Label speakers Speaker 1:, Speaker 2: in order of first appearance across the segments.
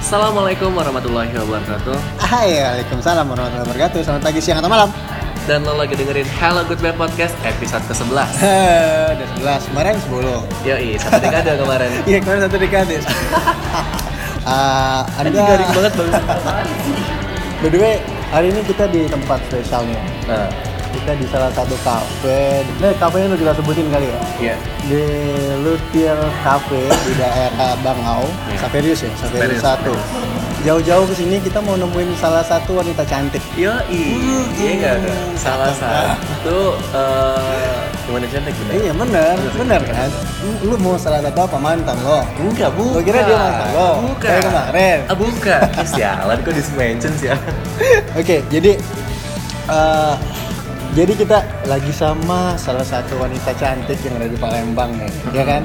Speaker 1: Assalamualaikum warahmatullahi wabarakatuh
Speaker 2: Hai, Waalaikumsalam warahmatullahi wabarakatuh. Selamat pagi, siang, atau malam.
Speaker 1: Dan lo lagi dengerin Hello Good Bad Podcast episode ke-11
Speaker 2: Heh, Udah 11, kemarin 10.
Speaker 1: Yoi, satu dekade kemarin
Speaker 2: Iya, kemarin satu dekade. Ah,
Speaker 1: Ini
Speaker 2: anda,
Speaker 1: garing banget bang
Speaker 2: by the way, hari ini kita di tempat spesialnya.
Speaker 1: Nah,
Speaker 2: Kita di salah satu kafe. Nah, kafenya udah kita sebutin kali ya.
Speaker 1: iya
Speaker 2: Di Lutier Cafe di daerah Bangau,
Speaker 1: Iya.
Speaker 2: Saverius ya,
Speaker 1: Saverius.
Speaker 2: Saverius 1. Jauh-jauh ke sini kita mau nemuin salah satu wanita cantik.
Speaker 1: Yoi, iya nggak ada Salah satu eh, Gimana cantik gitu
Speaker 2: Iya bener, bener kan? Lu, lu mau salah satu apa mantan lo?
Speaker 1: Enggak, bukan.
Speaker 2: Gua kira dia mantan lo.
Speaker 1: Bukan.
Speaker 2: Kayak kemarin.
Speaker 1: Ah, bukan. Eh, Sialan kok dismention sih.
Speaker 2: Oke, jadi eh, jadi kita lagi sama salah satu wanita cantik yang ada di Palembang nih, ya kan?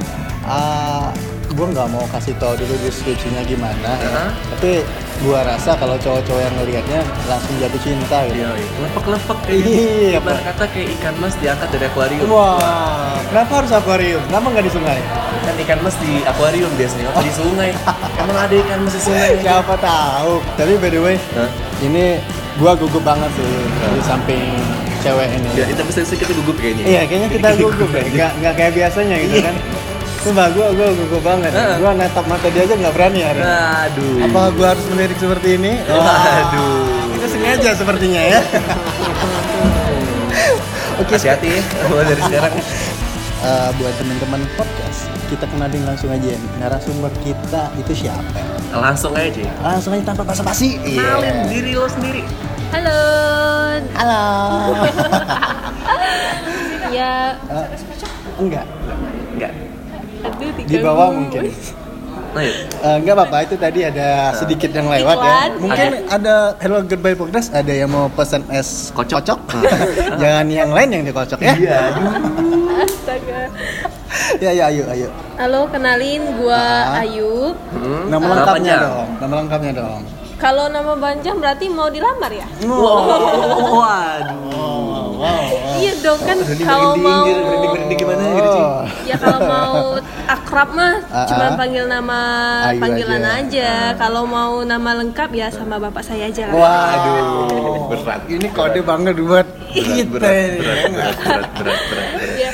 Speaker 2: gue nggak mau kasih tau dulu deskripsinya gimana, ya.
Speaker 1: Uh-huh.
Speaker 2: tapi gue rasa kalau cowok-cowok yang ngelihatnya langsung jatuh cinta gitu.
Speaker 1: Yoi, lepek-lepek
Speaker 2: Iya,
Speaker 1: kayak
Speaker 2: Pak.
Speaker 1: ibarat kata kayak ikan mas diangkat dari akuarium.
Speaker 2: Wah, kenapa harus akuarium? Kenapa nggak di sungai?
Speaker 1: Kan ikan mas di akuarium biasanya, apa di sungai. Emang ada ikan mas di sungai?
Speaker 2: Siapa tahu. Tapi by the way,
Speaker 1: Hah?
Speaker 2: ini gua gugup banget sih di samping cewek ini.
Speaker 1: Ya, tapi serius kita gugup kayaknya.
Speaker 2: Iya, kayaknya kita gugup ya. Nggak, nggak kayak biasanya gitu
Speaker 1: Iya.
Speaker 2: kan. Sumpah, gua, gua gugup banget.
Speaker 1: Heeh.
Speaker 2: Gua natap mata dia aja nggak berani hari ini.
Speaker 1: Aduh.
Speaker 2: Apa gua harus melirik seperti ini?
Speaker 1: Waduh.
Speaker 2: Itu sengaja sepertinya ya. Oke,
Speaker 1: Hati-hati ya, mulai dari sekarang.
Speaker 2: eh, buat teman-teman podcast, kita kenalin langsung aja ya. narasumber kita itu siapa?
Speaker 1: Langsung aja.
Speaker 2: Langsung aja tanpa basa-basi. Iya.
Speaker 1: Kenalin diri lo sendiri.
Speaker 3: Halo.
Speaker 2: Halo.
Speaker 3: Ya,
Speaker 2: Eh, enggak,
Speaker 1: Enggak.
Speaker 3: aduh tiga
Speaker 2: di bawah mungkin.
Speaker 1: Nah, yuk.
Speaker 2: Eh, enggak apa-apa, itu tadi ada sedikit yang lewat ya.
Speaker 3: Iklan.
Speaker 2: Mungkin ada Hello Goodbye Podcast, ada yang mau pesan es
Speaker 1: Kocok. Hmm.
Speaker 2: kocok. Jangan yang lain yang dikocok ya.
Speaker 1: Iya,
Speaker 3: Astaga.
Speaker 2: ya, ya, ayo, ayo.
Speaker 3: Halo, kenalin gua
Speaker 2: Ah.
Speaker 3: Ayu.
Speaker 1: Hmm,
Speaker 2: Nama
Speaker 1: kenapa,
Speaker 2: lengkapnya
Speaker 1: Jang?
Speaker 2: dong. Nama lengkapnya dong.
Speaker 3: Kalau nama panjang berarti mau dilamar ya?
Speaker 1: Wow, waduh.
Speaker 2: Wow, wow.
Speaker 3: Iya dong kan
Speaker 1: Berhenti
Speaker 3: kalau
Speaker 1: berhenti,
Speaker 3: mau
Speaker 1: berhenti berhenti gimana gitu sih?
Speaker 2: Oh.
Speaker 3: Ya kalau mau akrab mah
Speaker 2: Ah,
Speaker 3: cuma
Speaker 2: ah.
Speaker 3: panggil nama
Speaker 2: Ayu
Speaker 3: panggilan
Speaker 2: aja. Ah.
Speaker 3: aja. Kalau mau nama lengkap ya sama bapak saya aja lah.
Speaker 2: Waduh,
Speaker 1: Berat.
Speaker 2: Ini kode banget
Speaker 1: Berat,
Speaker 2: buat kita
Speaker 1: berat,
Speaker 2: ini. ya
Speaker 1: berat, berat, berat, berat, berat.
Speaker 3: Iya.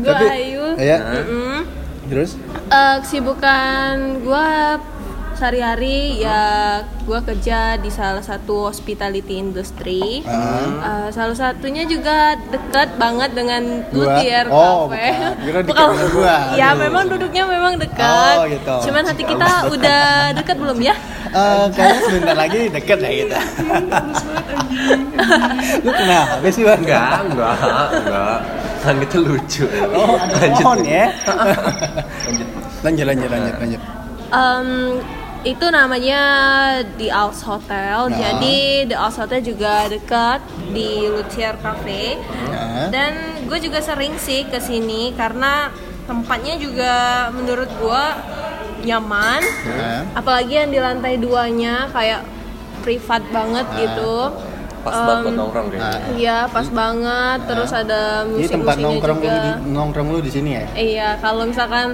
Speaker 3: Gua
Speaker 2: Tapi-
Speaker 3: Ayu.
Speaker 2: Iya.
Speaker 3: Mm-mm.
Speaker 2: Terus?
Speaker 3: Eh, kesibukan gua sehari-hari ya gua kerja di salah satu hospitality industry.
Speaker 2: Ah.
Speaker 3: Eh, salah satunya juga dekat banget dengan
Speaker 2: Gua?
Speaker 3: Luthier
Speaker 2: Oh,
Speaker 3: Cafe.
Speaker 2: bukan. Kira dekat sama gua.
Speaker 3: Ya,
Speaker 2: Aduh.
Speaker 3: memang duduknya memang dekat.
Speaker 2: Oh, gitu.
Speaker 3: Cuman hati kita udah dekat belum ya?
Speaker 2: Eh, kayaknya sebentar lagi deket ya kita. Lu kenapa sih, Bang?
Speaker 1: Enggak, enggak, enggak. Kan itu lucu.
Speaker 2: Oh, ada pohon ya.
Speaker 1: Lanjut.
Speaker 2: lanjut, lanjut, lanjut, lanjut.
Speaker 3: Em, itu namanya The Alps
Speaker 2: Nah.
Speaker 3: Hotel. Jadi The Alps Hotel juga dekat di Luthier Cafe.
Speaker 2: Nah.
Speaker 3: Dan gue juga sering sih ke sini karena tempatnya juga menurut gue nyaman.
Speaker 2: Nah.
Speaker 3: Apalagi yang di lantai duanya kayak privat banget gitu.
Speaker 1: Pas banget buat nongkrong kayaknya.
Speaker 2: Nah.
Speaker 3: Iya, pas banget. Terus ada
Speaker 2: Ini Nah. tempat
Speaker 3: musik-musiknya
Speaker 2: nongkrong lu
Speaker 3: juga.
Speaker 2: di nongkrong lu di sini ya?
Speaker 3: Iya, kalau misalkan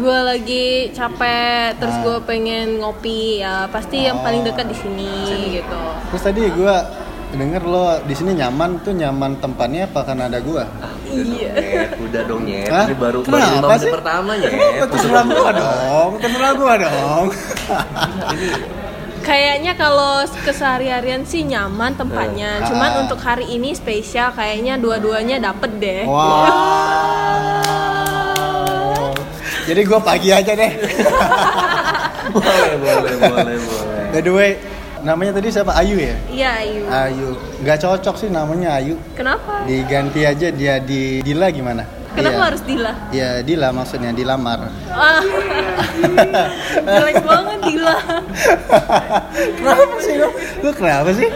Speaker 3: gue lagi capek, terus
Speaker 2: Ah.
Speaker 3: gue pengen ngopi, ya pasti yang paling dekat di sini gitu.
Speaker 2: Terus tadi gua denger lo di sini nyaman tuh nyaman tempatnya apa karena ada gua?
Speaker 3: Iya.
Speaker 1: Udah dong nyet,
Speaker 2: Hah?
Speaker 1: ini baru baru
Speaker 2: Kenapa
Speaker 1: lima
Speaker 2: sih?
Speaker 1: menit pertama nyet.
Speaker 2: Oh, terserah gua dong, terserah gua dong.
Speaker 3: Kayaknya kalau kesehari-harian sih nyaman tempatnya,
Speaker 2: Ah.
Speaker 3: cuman untuk hari ini spesial, kayaknya dua-duanya dapet deh.
Speaker 2: Wow. Jadi gua pagi aja deh.
Speaker 1: Boleh, boleh, boleh, boleh.
Speaker 2: By the way, namanya tadi siapa? Ayu ya?
Speaker 3: Iya, Ayu.
Speaker 2: Ayu. Gak cocok sih namanya Ayu.
Speaker 3: Kenapa?
Speaker 2: Diganti aja dia di Dila gimana?
Speaker 3: Kenapa
Speaker 2: Iya.
Speaker 3: harus Dila?
Speaker 2: Ya Dila maksudnya dilamar.
Speaker 3: Ah, jelek banget Dila.
Speaker 2: kenapa sih lu? Lu kenapa sih?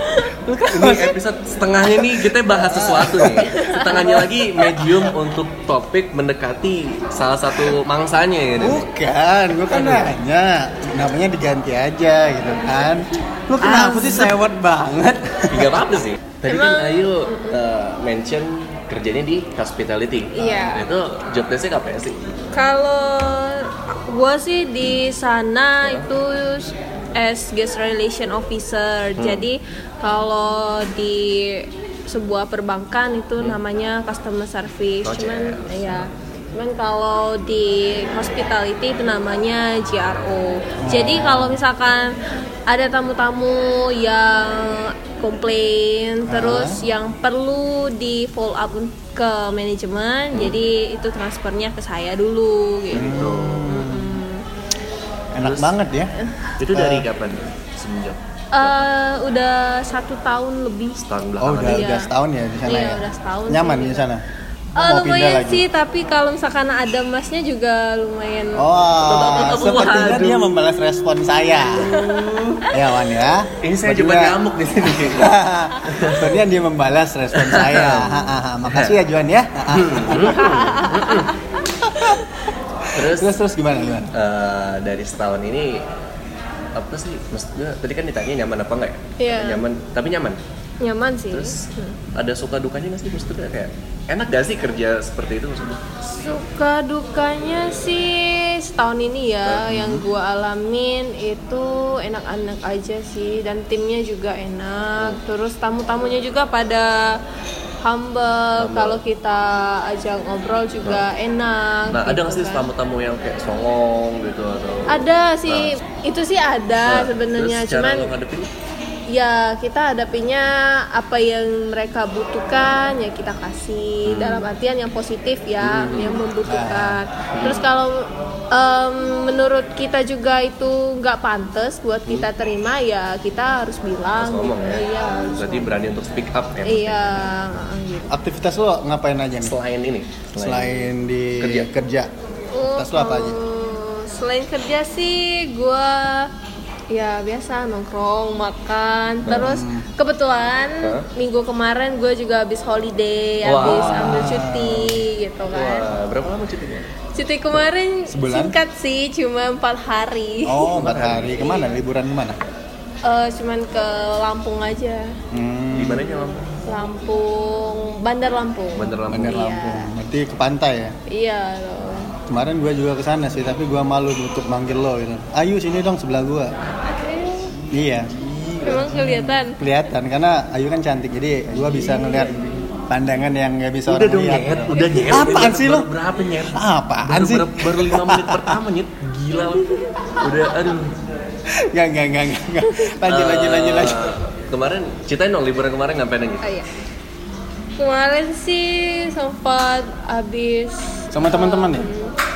Speaker 2: Lu kan-
Speaker 1: Ini
Speaker 2: kenapa sih?
Speaker 1: episode setengahnya nih kita bahas sesuatu nih. Setengahnya lagi medium untuk topik mendekati salah satu mangsanya ya. Nen.
Speaker 2: Bukan, gua kan nanya namanya diganti aja gitu kan. Lu kenapa sih sewot banget?
Speaker 1: Enggak apa-apa sih. Tadi kan
Speaker 3: Emang-
Speaker 1: Ayu uh, mention kerjanya di hospitality. Nah,
Speaker 3: Iya.
Speaker 1: Itu job desk-nya apa sih?
Speaker 3: Kalau gua sih di sana itu as guest relation officer. Jadi kalau di sebuah perbankan itu namanya customer service.
Speaker 1: Oh,
Speaker 3: Cuman
Speaker 1: CS.
Speaker 3: ya Cuman kalau di hospitality itu namanya
Speaker 2: Oh.
Speaker 3: GRO. Jadi kalau misalkan ada tamu-tamu yang komplain terus yang perlu di follow up un- ke
Speaker 2: Hmm.
Speaker 3: manajemen, jadi itu transfernya ke saya dulu gitu.
Speaker 1: Tuh.
Speaker 2: Hmm. Enak
Speaker 1: Terus-
Speaker 2: banget ya.
Speaker 1: Itu dari kapan? Semenjak
Speaker 3: Eh, udah satu tahun lebih.
Speaker 1: setahun
Speaker 2: Oh
Speaker 1: belakangan.
Speaker 2: udah
Speaker 1: ini?
Speaker 3: Iya.
Speaker 2: udah setahun ya di sana
Speaker 3: Iya,
Speaker 2: ya.
Speaker 3: udah setahun
Speaker 2: Nyaman
Speaker 3: sih
Speaker 2: di
Speaker 3: gitu.
Speaker 2: sana.
Speaker 3: Eh,
Speaker 2: Mau pindah
Speaker 3: lumayan
Speaker 2: lagi?
Speaker 3: sih, tapi kalau misalkan ada masnya juga lumayan.
Speaker 2: Oh,
Speaker 1: Waduh.
Speaker 2: sepertinya dia membalas respon saya. ya Wan ya.
Speaker 1: Ini saya coba
Speaker 2: Sepertinya-
Speaker 1: nyamuk di sini.
Speaker 2: Sepertinya dia membalas respon saya. Ha, ha, ha. Makasih ya Juan ya. Ha, ha.
Speaker 1: Hmm. Terus
Speaker 2: terus terus gimana gimana?
Speaker 1: eh, dari setahun ini apa sih maksudnya tadi kan ditanya nyaman apa enggak ya?
Speaker 3: Iya.
Speaker 1: Nyaman, tapi nyaman.
Speaker 3: Nyaman sih.
Speaker 1: Terus ada suka dukanya nggak sih maksudnya kayak enak gak sih kerja seperti itu maksudnya?
Speaker 3: Suka dukanya sih setahun ini ya yang gua alamin itu enak-enak aja sih dan timnya juga enak. Terus tamu-tamunya juga pada humble, kalau kita ajak ngobrol juga enak.
Speaker 1: Nah, ada
Speaker 3: gitu
Speaker 1: nggak sih
Speaker 3: kan.
Speaker 1: tamu-tamu yang kayak songong gitu atau?
Speaker 3: Ada sih. Itu sih ada
Speaker 1: Nah,
Speaker 3: sebenarnya
Speaker 1: terus cara
Speaker 3: cuman
Speaker 1: lo ngadepin?
Speaker 3: ya kita hadapinya apa yang mereka butuhkan ya kita kasih
Speaker 1: Hmm.
Speaker 3: dalam artian yang positif ya yang membutuhkan terus kalau em, menurut kita juga itu nggak pantas buat kita terima ya kita harus bilang
Speaker 1: Hmm. Harus ngomong ya.
Speaker 3: gitu iya harus
Speaker 1: Berarti
Speaker 3: ngomong.
Speaker 1: berani untuk speak up ya.
Speaker 3: iya heeh, gitu
Speaker 2: Aktivitas lo ngapain aja nih?
Speaker 1: Selain ini,
Speaker 2: Selain di
Speaker 1: Kerja.
Speaker 2: Aktivitas lo apa aja?
Speaker 3: Oh, selain kerja sih gue ya biasa nongkrong makan terus kebetulan
Speaker 1: Hah?
Speaker 3: minggu kemarin gue juga habis holiday
Speaker 1: Wah.
Speaker 3: habis ambil cuti gitu kan
Speaker 1: Wah, berapa lama cutinya?
Speaker 2: Hmm.
Speaker 3: cuti kemarin
Speaker 2: Sebulan?
Speaker 3: singkat sih cuma empat hari
Speaker 2: Oh, empat hari. Kemana? Liburan kemana?
Speaker 3: Eh, cuman ke Lampung aja
Speaker 2: Hmm,
Speaker 1: Di mananya Lampung?
Speaker 3: Lampung Bandar Lampung
Speaker 1: Bandar Lampung.
Speaker 2: Bandar
Speaker 3: Iya.
Speaker 2: Lampung. Berarti ke pantai ya?
Speaker 3: iya loh
Speaker 2: Kemarin gue juga ke sana sih, tapi gue malu untuk manggil lo gitu. Ayu sini dong sebelah gue. Iya,
Speaker 3: emang kelihatan
Speaker 2: kelihatan karena Ayu kan cantik, jadi gue bisa ngeliat pandangan yang gak bisa
Speaker 1: Udah
Speaker 2: orang
Speaker 1: dong
Speaker 2: lihat.
Speaker 1: nyet, udah nyet.
Speaker 2: Iya, Apaan sih lo?
Speaker 1: Baru Berapa nyet?
Speaker 2: Apaan
Speaker 1: Baru,
Speaker 2: sih?
Speaker 1: baru, baru 5 menit pertama nyet, gila lo. Udah, aduh.
Speaker 2: Gak, gak, gak, gak, gak. Lanjut, lanjut,
Speaker 1: Eh,
Speaker 2: lanjut, lanjut.
Speaker 1: Kemarin, ceritain dong liburan kemarin ngapain aja?
Speaker 3: Oh iya. Kemarin sih sempat habis
Speaker 2: Sama teman-teman ya?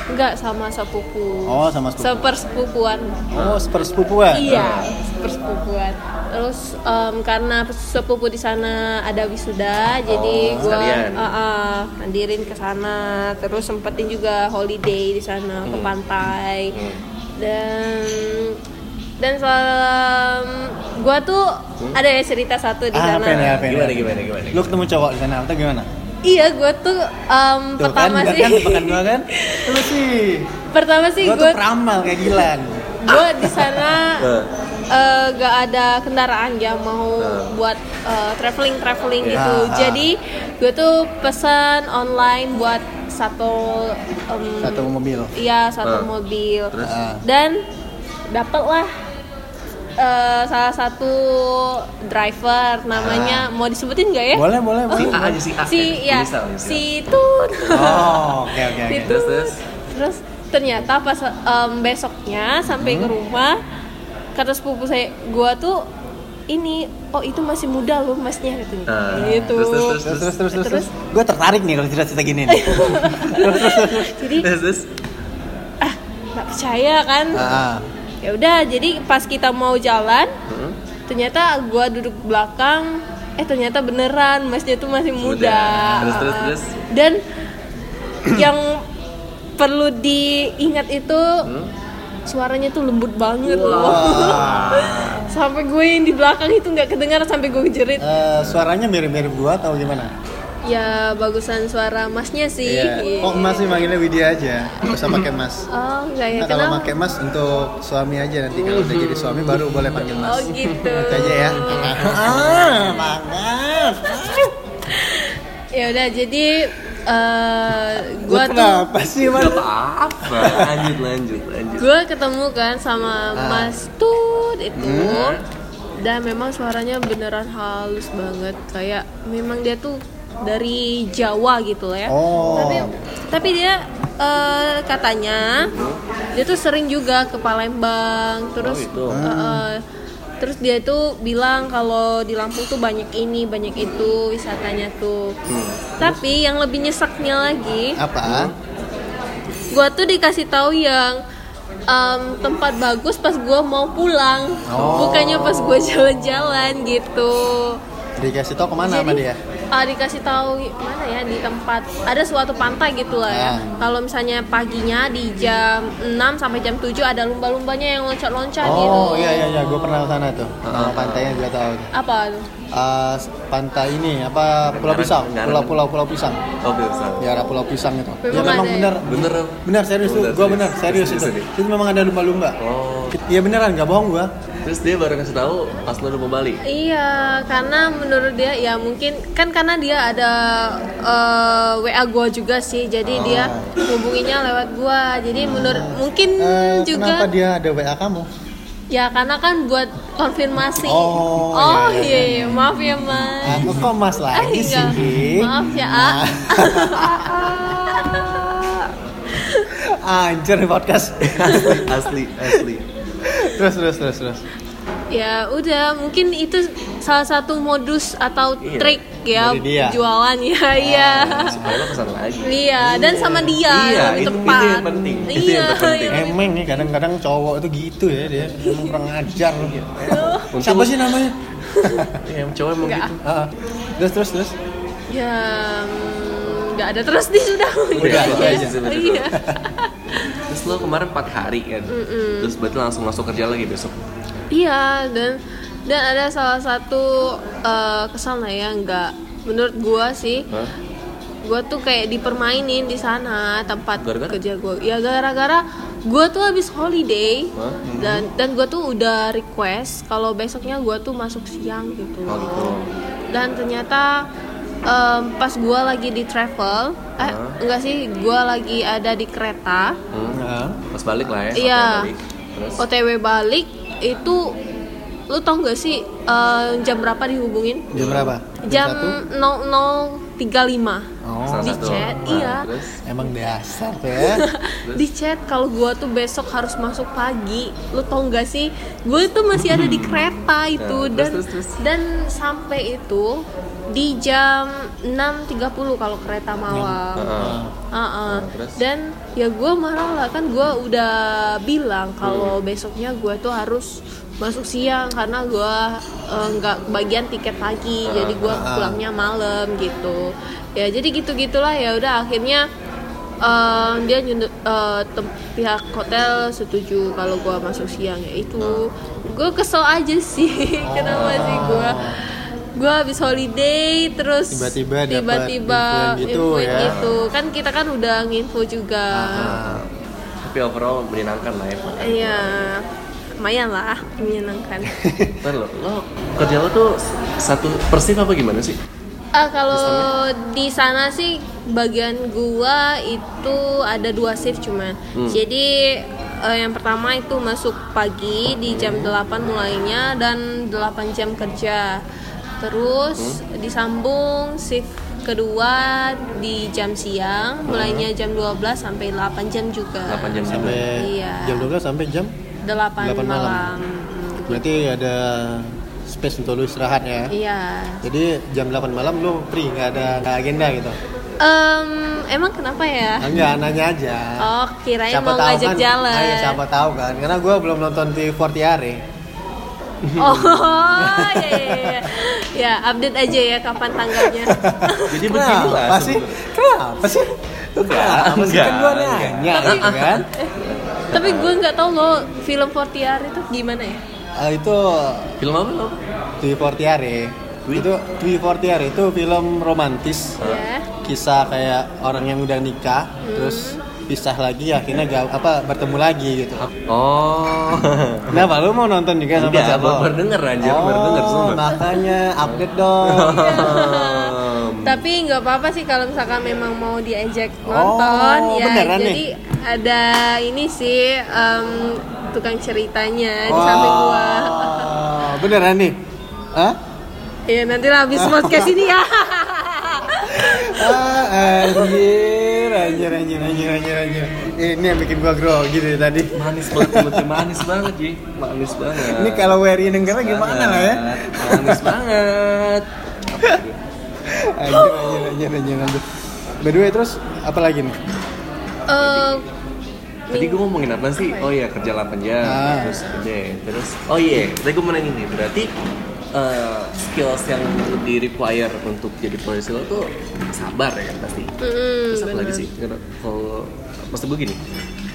Speaker 3: enggak sama sepupu.
Speaker 2: Oh, sama sepupu.
Speaker 3: Sepersepupuan.
Speaker 2: Oh, seper sepupuan.
Speaker 3: Iya, sepersepupuan. Terus em, karena sepupu di sana ada wisuda, jadi
Speaker 1: Oh,
Speaker 3: gua
Speaker 1: sekalian.
Speaker 3: eh, eh, mandirin ke sana. Terus sempetin juga holiday di sana
Speaker 2: Hmm.
Speaker 3: ke pantai. Dan dan soal gua tuh ada ya cerita satu di
Speaker 2: Hmm. Ah, apa
Speaker 3: sana.
Speaker 2: nih, apa nih?
Speaker 1: Gimana, gimana, gimana?
Speaker 2: Lu ketemu cowok di sana atau gimana?
Speaker 3: Iya, gue tuh em,
Speaker 2: Tuh
Speaker 3: pertama
Speaker 2: kan,
Speaker 3: sih,
Speaker 2: kan tebakan gue kan? Lu sih,
Speaker 3: pertama
Speaker 2: gue
Speaker 3: sih gue
Speaker 2: tuh peramal kayak Gilan.
Speaker 3: gue di sana
Speaker 1: Eh.
Speaker 3: eh, gak ada kendaraan ya mau
Speaker 1: Eh.
Speaker 3: buat traveling
Speaker 1: Iya.
Speaker 3: traveling gitu.
Speaker 2: Ah, ah.
Speaker 3: Jadi gue tuh pesan online buat satu em,
Speaker 2: Satu mobil.
Speaker 3: iya
Speaker 1: Eh.
Speaker 3: satu mobil
Speaker 1: Terus?
Speaker 2: Ah.
Speaker 3: dan dapatlah eh, salah satu driver namanya mau disebutin gak ya?
Speaker 2: Ah. Boleh, ah, eh, boleh,
Speaker 1: Si
Speaker 2: boleh.
Speaker 1: A aja, si A.
Speaker 3: Si ya
Speaker 1: Inisial, inisial.
Speaker 3: si Tun.
Speaker 2: Oh, oke, oke, oke.
Speaker 3: Itu.
Speaker 1: Terus, terus?
Speaker 3: Gitu. Terus ternyata pas em, besoknya sampai
Speaker 1: Hmm?
Speaker 3: ke rumah kata sepupu saya gua tuh ini oh itu masih muda loh masnya katanya.
Speaker 1: Ah,
Speaker 3: gitu.
Speaker 1: terus, terus, terus.
Speaker 2: terus terus terus terus,
Speaker 3: Terus?
Speaker 2: gue tertarik nih kalau cerita cerita gini nih
Speaker 3: Jadi
Speaker 1: Terus, terus?
Speaker 3: nggak percaya kan.
Speaker 2: Ah,
Speaker 3: Ya udah jadi pas kita mau jalan
Speaker 1: Hmm?
Speaker 3: ternyata gua duduk belakang eh ternyata beneran masnya tuh masih muda.
Speaker 1: Muda. Terus, terus,
Speaker 3: Ah.
Speaker 1: terus.
Speaker 3: Dan yang perlu diingat itu
Speaker 1: Hmm?
Speaker 3: suaranya tuh lembut banget loh.
Speaker 2: ah.
Speaker 3: sampai gue yang di belakang itu nggak kedengar sampai gue jerit
Speaker 2: eh, suaranya mirip mirip gue atau gimana
Speaker 3: ya bagusan suara masnya sih
Speaker 2: Iya. kok mas sih manggilnya Widya aja nggak usah pakai mas
Speaker 3: oh nggak ya
Speaker 2: nah, kalau
Speaker 3: kenapa
Speaker 2: pakai mas untuk suami aja nanti kalau udah jadi suami baru boleh panggil mas
Speaker 3: oh gitu
Speaker 2: Itu aja ya ah banget
Speaker 3: ya udah jadi eh
Speaker 2: gue
Speaker 3: gue tuh
Speaker 2: kenapa sih mas
Speaker 1: Gak apa-apa. Lanjut, lanjut, lanjut.
Speaker 3: gue ketemu kan
Speaker 2: Ah.
Speaker 3: sama
Speaker 2: Hmm.
Speaker 3: mas Tut itu dan memang suaranya beneran halus banget kayak memang dia tuh dari Jawa gitu ya
Speaker 2: Oh.
Speaker 3: tapi tapi dia eh, katanya dia tuh sering juga ke Palembang terus
Speaker 1: gitu.
Speaker 2: Oh,
Speaker 3: eh, eh, terus dia tuh bilang kalau di Lampung tuh banyak ini banyak itu wisatanya tuh
Speaker 2: Hmm.
Speaker 3: tapi yang lebih nyeseknya
Speaker 2: Ah.
Speaker 3: lagi
Speaker 2: Apa?
Speaker 3: gua tuh dikasih tahu yang em, tempat bagus pas gua mau pulang
Speaker 2: Oh.
Speaker 3: bukannya pas gua jalan-jalan gitu
Speaker 2: Dikasih tau kemana sama dia?
Speaker 3: ah, dikasih tahu mana ya di tempat ada suatu pantai gitu lah ya
Speaker 2: Ah.
Speaker 3: kalau misalnya paginya di jam 6 sampai jam 7 ada lumba-lumbanya yang loncat-loncat gitu
Speaker 2: Oh iya iya iya, gue pernah ke sana tuh. Nama pantainya gue tahu.
Speaker 3: apa tuh?
Speaker 2: Eh, pantai ini apa Pulau
Speaker 1: Ngaran-
Speaker 2: Pisang?
Speaker 1: Ngaran.
Speaker 2: Pulau Pulau Pulau Pisang.
Speaker 1: Oke, besar.
Speaker 2: Di arah Pulau Pisang itu. Ya
Speaker 3: Memang
Speaker 2: memang
Speaker 3: ada ya?
Speaker 2: bener
Speaker 1: Bener.
Speaker 2: Bener serius tuh,
Speaker 1: Bener,
Speaker 2: gue bener serius
Speaker 1: Serius,
Speaker 2: itu.
Speaker 1: serius.
Speaker 2: Itu memang ada lumba-lumba.
Speaker 1: Oh.
Speaker 2: Iya beneran, gak bohong gue.
Speaker 1: Terus dia baru ngasih tahu pas lu udah mau balik.
Speaker 3: Iya, karena menurut dia ya mungkin kan karena dia ada eh, WA gua juga sih, jadi dia hubunginya lewat gua. Jadi menurut mungkin
Speaker 2: Eh, Kenapa
Speaker 3: Hmm, juga
Speaker 2: dia ada WA kamu?
Speaker 3: ya karena kan buat konfirmasi.
Speaker 2: Oh,
Speaker 3: Oh,
Speaker 2: iya,
Speaker 3: iya,
Speaker 2: iya,
Speaker 3: iya. maaf ya mas.
Speaker 2: Aku Ah, kok mas lagi
Speaker 3: iya.
Speaker 2: sih.
Speaker 3: Maaf ya, Ah.
Speaker 2: Nah. Anjir nih podcast.
Speaker 1: asli, asli.
Speaker 2: terus terus terus terus.
Speaker 3: Ya udah, mungkin itu salah satu modus atau
Speaker 1: Iya,
Speaker 3: trik ya
Speaker 2: dari dia.
Speaker 3: jualan ya, iya.
Speaker 1: Supaya lo pesan lagi.
Speaker 3: Iya, dan sama dia
Speaker 1: Iya,
Speaker 3: lebih
Speaker 1: itu-
Speaker 3: tepat.
Speaker 1: itu yang penting.
Speaker 3: Iya,
Speaker 1: Itu yang terpenting.
Speaker 3: iya.
Speaker 2: Emang nih kadang-kadang cowok itu gitu ya dia. Emang kurang ajar. gitu.
Speaker 1: Untung-
Speaker 2: Siapa sih namanya?
Speaker 1: Iya, cowok emang
Speaker 3: Nggak.
Speaker 1: gitu.
Speaker 2: Ah, ah. terus terus terus.
Speaker 3: Ya mm, nggak ada terus nih sudah.
Speaker 2: Udah,
Speaker 3: Gitu
Speaker 2: udah
Speaker 3: ya.
Speaker 2: aja,
Speaker 1: sudah, sudah.
Speaker 3: Iya.
Speaker 1: Terus lo kemarin 4 hari kan. Terus berarti langsung masuk kerja lagi besok.
Speaker 3: Iya dan dan ada salah satu eh, kesan lah ya nggak menurut gua sih
Speaker 1: Hah?
Speaker 3: gua tuh kayak dipermainin di sana tempat
Speaker 1: Gara-gara?
Speaker 3: kerja gua ya gara-gara gua tuh habis holiday
Speaker 1: Hah?
Speaker 3: dan dan gua tuh udah request kalau besoknya gua tuh masuk siang gitu
Speaker 1: Oh, gitu.
Speaker 3: dan ternyata em, pas gua lagi di travel eh
Speaker 1: Hah?
Speaker 3: enggak sih gua lagi ada di kereta
Speaker 1: Hmm.
Speaker 2: Ah.
Speaker 1: Pas balik lah ya.
Speaker 3: Iya.
Speaker 1: hotel balik. Terus
Speaker 3: OTW balik itu lu tau gak sih eh, jam berapa dihubungin?
Speaker 2: Jam berapa?
Speaker 3: Jam
Speaker 2: satu?
Speaker 3: 0035
Speaker 2: Oh,
Speaker 1: salah
Speaker 3: di
Speaker 1: satu.
Speaker 3: chat,
Speaker 1: Nah,
Speaker 3: iya.
Speaker 1: Terus
Speaker 2: emang dasar tuh ya.
Speaker 3: di chat kalau gua tuh besok harus masuk pagi lu tau gak sih gue itu masih ada di kereta itu
Speaker 1: Nah, terus,
Speaker 3: dan
Speaker 1: terus, terus.
Speaker 3: dan sampai itu di jam 6.30 kalau kereta malam
Speaker 1: Heeh.
Speaker 3: Heeh.
Speaker 2: Oh,
Speaker 1: terus?
Speaker 3: Uh-uh. Dan ya gue marah lah kan gue udah bilang
Speaker 2: Hmm.
Speaker 3: kalau besoknya gue tuh harus masuk siang karena gue nggak bagian tiket pagi
Speaker 2: Ah,
Speaker 3: jadi gue pulangnya malam gitu ya jadi gitu gitulah ya udah akhirnya eh, dia nyundu- eh, tem- pihak hotel setuju kalau gue masuk siang ya
Speaker 2: Ah.
Speaker 3: itu gue kesel aja sih kenapa sih gue gue habis holiday terus
Speaker 2: Tiba-tiba dapat
Speaker 3: tiba-tiba
Speaker 2: influence gitu
Speaker 3: influence
Speaker 2: ya.
Speaker 3: gitu. kan kita kan udah nginfo juga
Speaker 2: Ah,
Speaker 1: tapi overall menyenangkan lah ya. Pak.
Speaker 3: iya lumayan lah menyenangkan
Speaker 1: Ntar lo, lo kerja lo tuh satu persif apa gimana sih?
Speaker 3: Ah, kalau di sana sih bagian gua itu ada dua shift cuma jadi eh, yang pertama itu masuk pagi di jam 8 mulainya dan 8 jam kerja terus disambung shift kedua di jam siang mulainya jam 12 sampai 8 jam juga
Speaker 1: 8 jam
Speaker 2: Sampai
Speaker 1: sampai
Speaker 3: Iya.
Speaker 2: jam 12 sampai jam
Speaker 3: 8,
Speaker 2: 8 malam.
Speaker 3: malam.
Speaker 2: berarti ada space untuk lu istirahat ya.
Speaker 3: Iya.
Speaker 2: Jadi jam 8 malam lu free, nggak ada nggak agenda gitu.
Speaker 3: Em, emang kenapa ya?
Speaker 2: Enggak, nanya aja.
Speaker 3: Oh, kirain mau
Speaker 2: tahu
Speaker 3: ngajak
Speaker 2: kan,
Speaker 3: jalan.
Speaker 2: ah, iya, siapa tahu kan. Karena gue belum nonton TV40 hari.
Speaker 3: Oh, ya, ya, ya. ya, update aja ya kapan tanggalnya.
Speaker 1: Jadi beginilah
Speaker 2: Pasti kenapa sih? Kenapa sih kan gue
Speaker 1: enggak,
Speaker 2: nanya gitu kan?
Speaker 3: Tapi gue nggak tahu loh film 40 hari itu gimana ya?
Speaker 2: Ah, itu
Speaker 1: Film apa lo?
Speaker 2: TV40 hari.
Speaker 1: Twi?
Speaker 2: Itu TV40 hari itu film romantis.
Speaker 3: Ya.
Speaker 2: kisah kayak orang yang udah nikah
Speaker 3: Hmm.
Speaker 2: terus pisah lagi akhirnya gak, apa bertemu lagi gitu.
Speaker 1: Oh.
Speaker 2: Kenapa lu mau nonton juga sama
Speaker 1: Enggak,
Speaker 2: siapa?
Speaker 1: baru- baru denger, anjir, baru denger,
Speaker 2: Oh,
Speaker 1: sumpah.
Speaker 2: makanya update dong.
Speaker 3: Iya.
Speaker 2: nah.
Speaker 3: Tapi nggak apa-apa sih kalau misalkan memang mau diajak nonton
Speaker 2: Oh,
Speaker 3: ya.
Speaker 2: beneran
Speaker 3: jadi
Speaker 2: nih?
Speaker 3: ada ini sih em, tukang ceritanya di samping gua.
Speaker 2: beneran nih Hah?
Speaker 3: Iya nantilah habis podcast ini ya.
Speaker 2: ah anjir anjir anjir anjir anjir anjir ini yang bikin gua grogi dari tadi
Speaker 1: Oh, manis banget mulutnya manis banget Ji manis banget
Speaker 2: ini kalau Wery negara gimana lah ya
Speaker 1: manis banget
Speaker 2: anjir anjir anjir anjir anjir by the way terus apa lagi nih
Speaker 3: Eh,
Speaker 1: tadi gue ngomongin apa sih
Speaker 3: ya?
Speaker 1: oh iya kerja 8 jam
Speaker 2: Ah.
Speaker 1: terus kerja ya. terus oh iya tadi gue mau nanya nih berarti eh, skills yang di require untuk jadi polisi lo tuh sabar ya kan pasti
Speaker 3: mm,
Speaker 1: terus apa lagi
Speaker 3: bener.
Speaker 1: sih Karena kalau maksud gue gini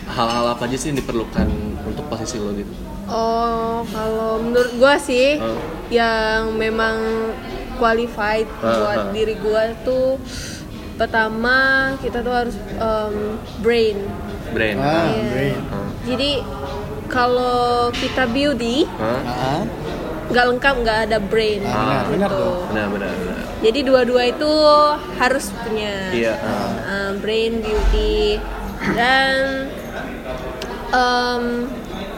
Speaker 1: hal-hal apa aja sih yang diperlukan untuk posisi lo gitu
Speaker 3: Oh, kalau menurut gua sih
Speaker 1: Hmm.
Speaker 3: yang memang qualified
Speaker 1: Hmm,
Speaker 3: buat
Speaker 1: hmm.
Speaker 3: diri gua tuh pertama kita tuh harus em, brain.
Speaker 1: brand
Speaker 2: ah
Speaker 3: Iya.
Speaker 2: brain
Speaker 1: Hah?
Speaker 3: Jadi kalau kita beauty
Speaker 1: Hah?
Speaker 2: ah
Speaker 3: nggak lengkap nggak ada brain.
Speaker 2: Ah,
Speaker 1: benar,
Speaker 2: benar
Speaker 3: gitu.
Speaker 2: tuh.
Speaker 1: benar benar benar
Speaker 3: Jadi dua-dua itu harus punya.
Speaker 1: iya ah.
Speaker 3: Uh, brain beauty dan um,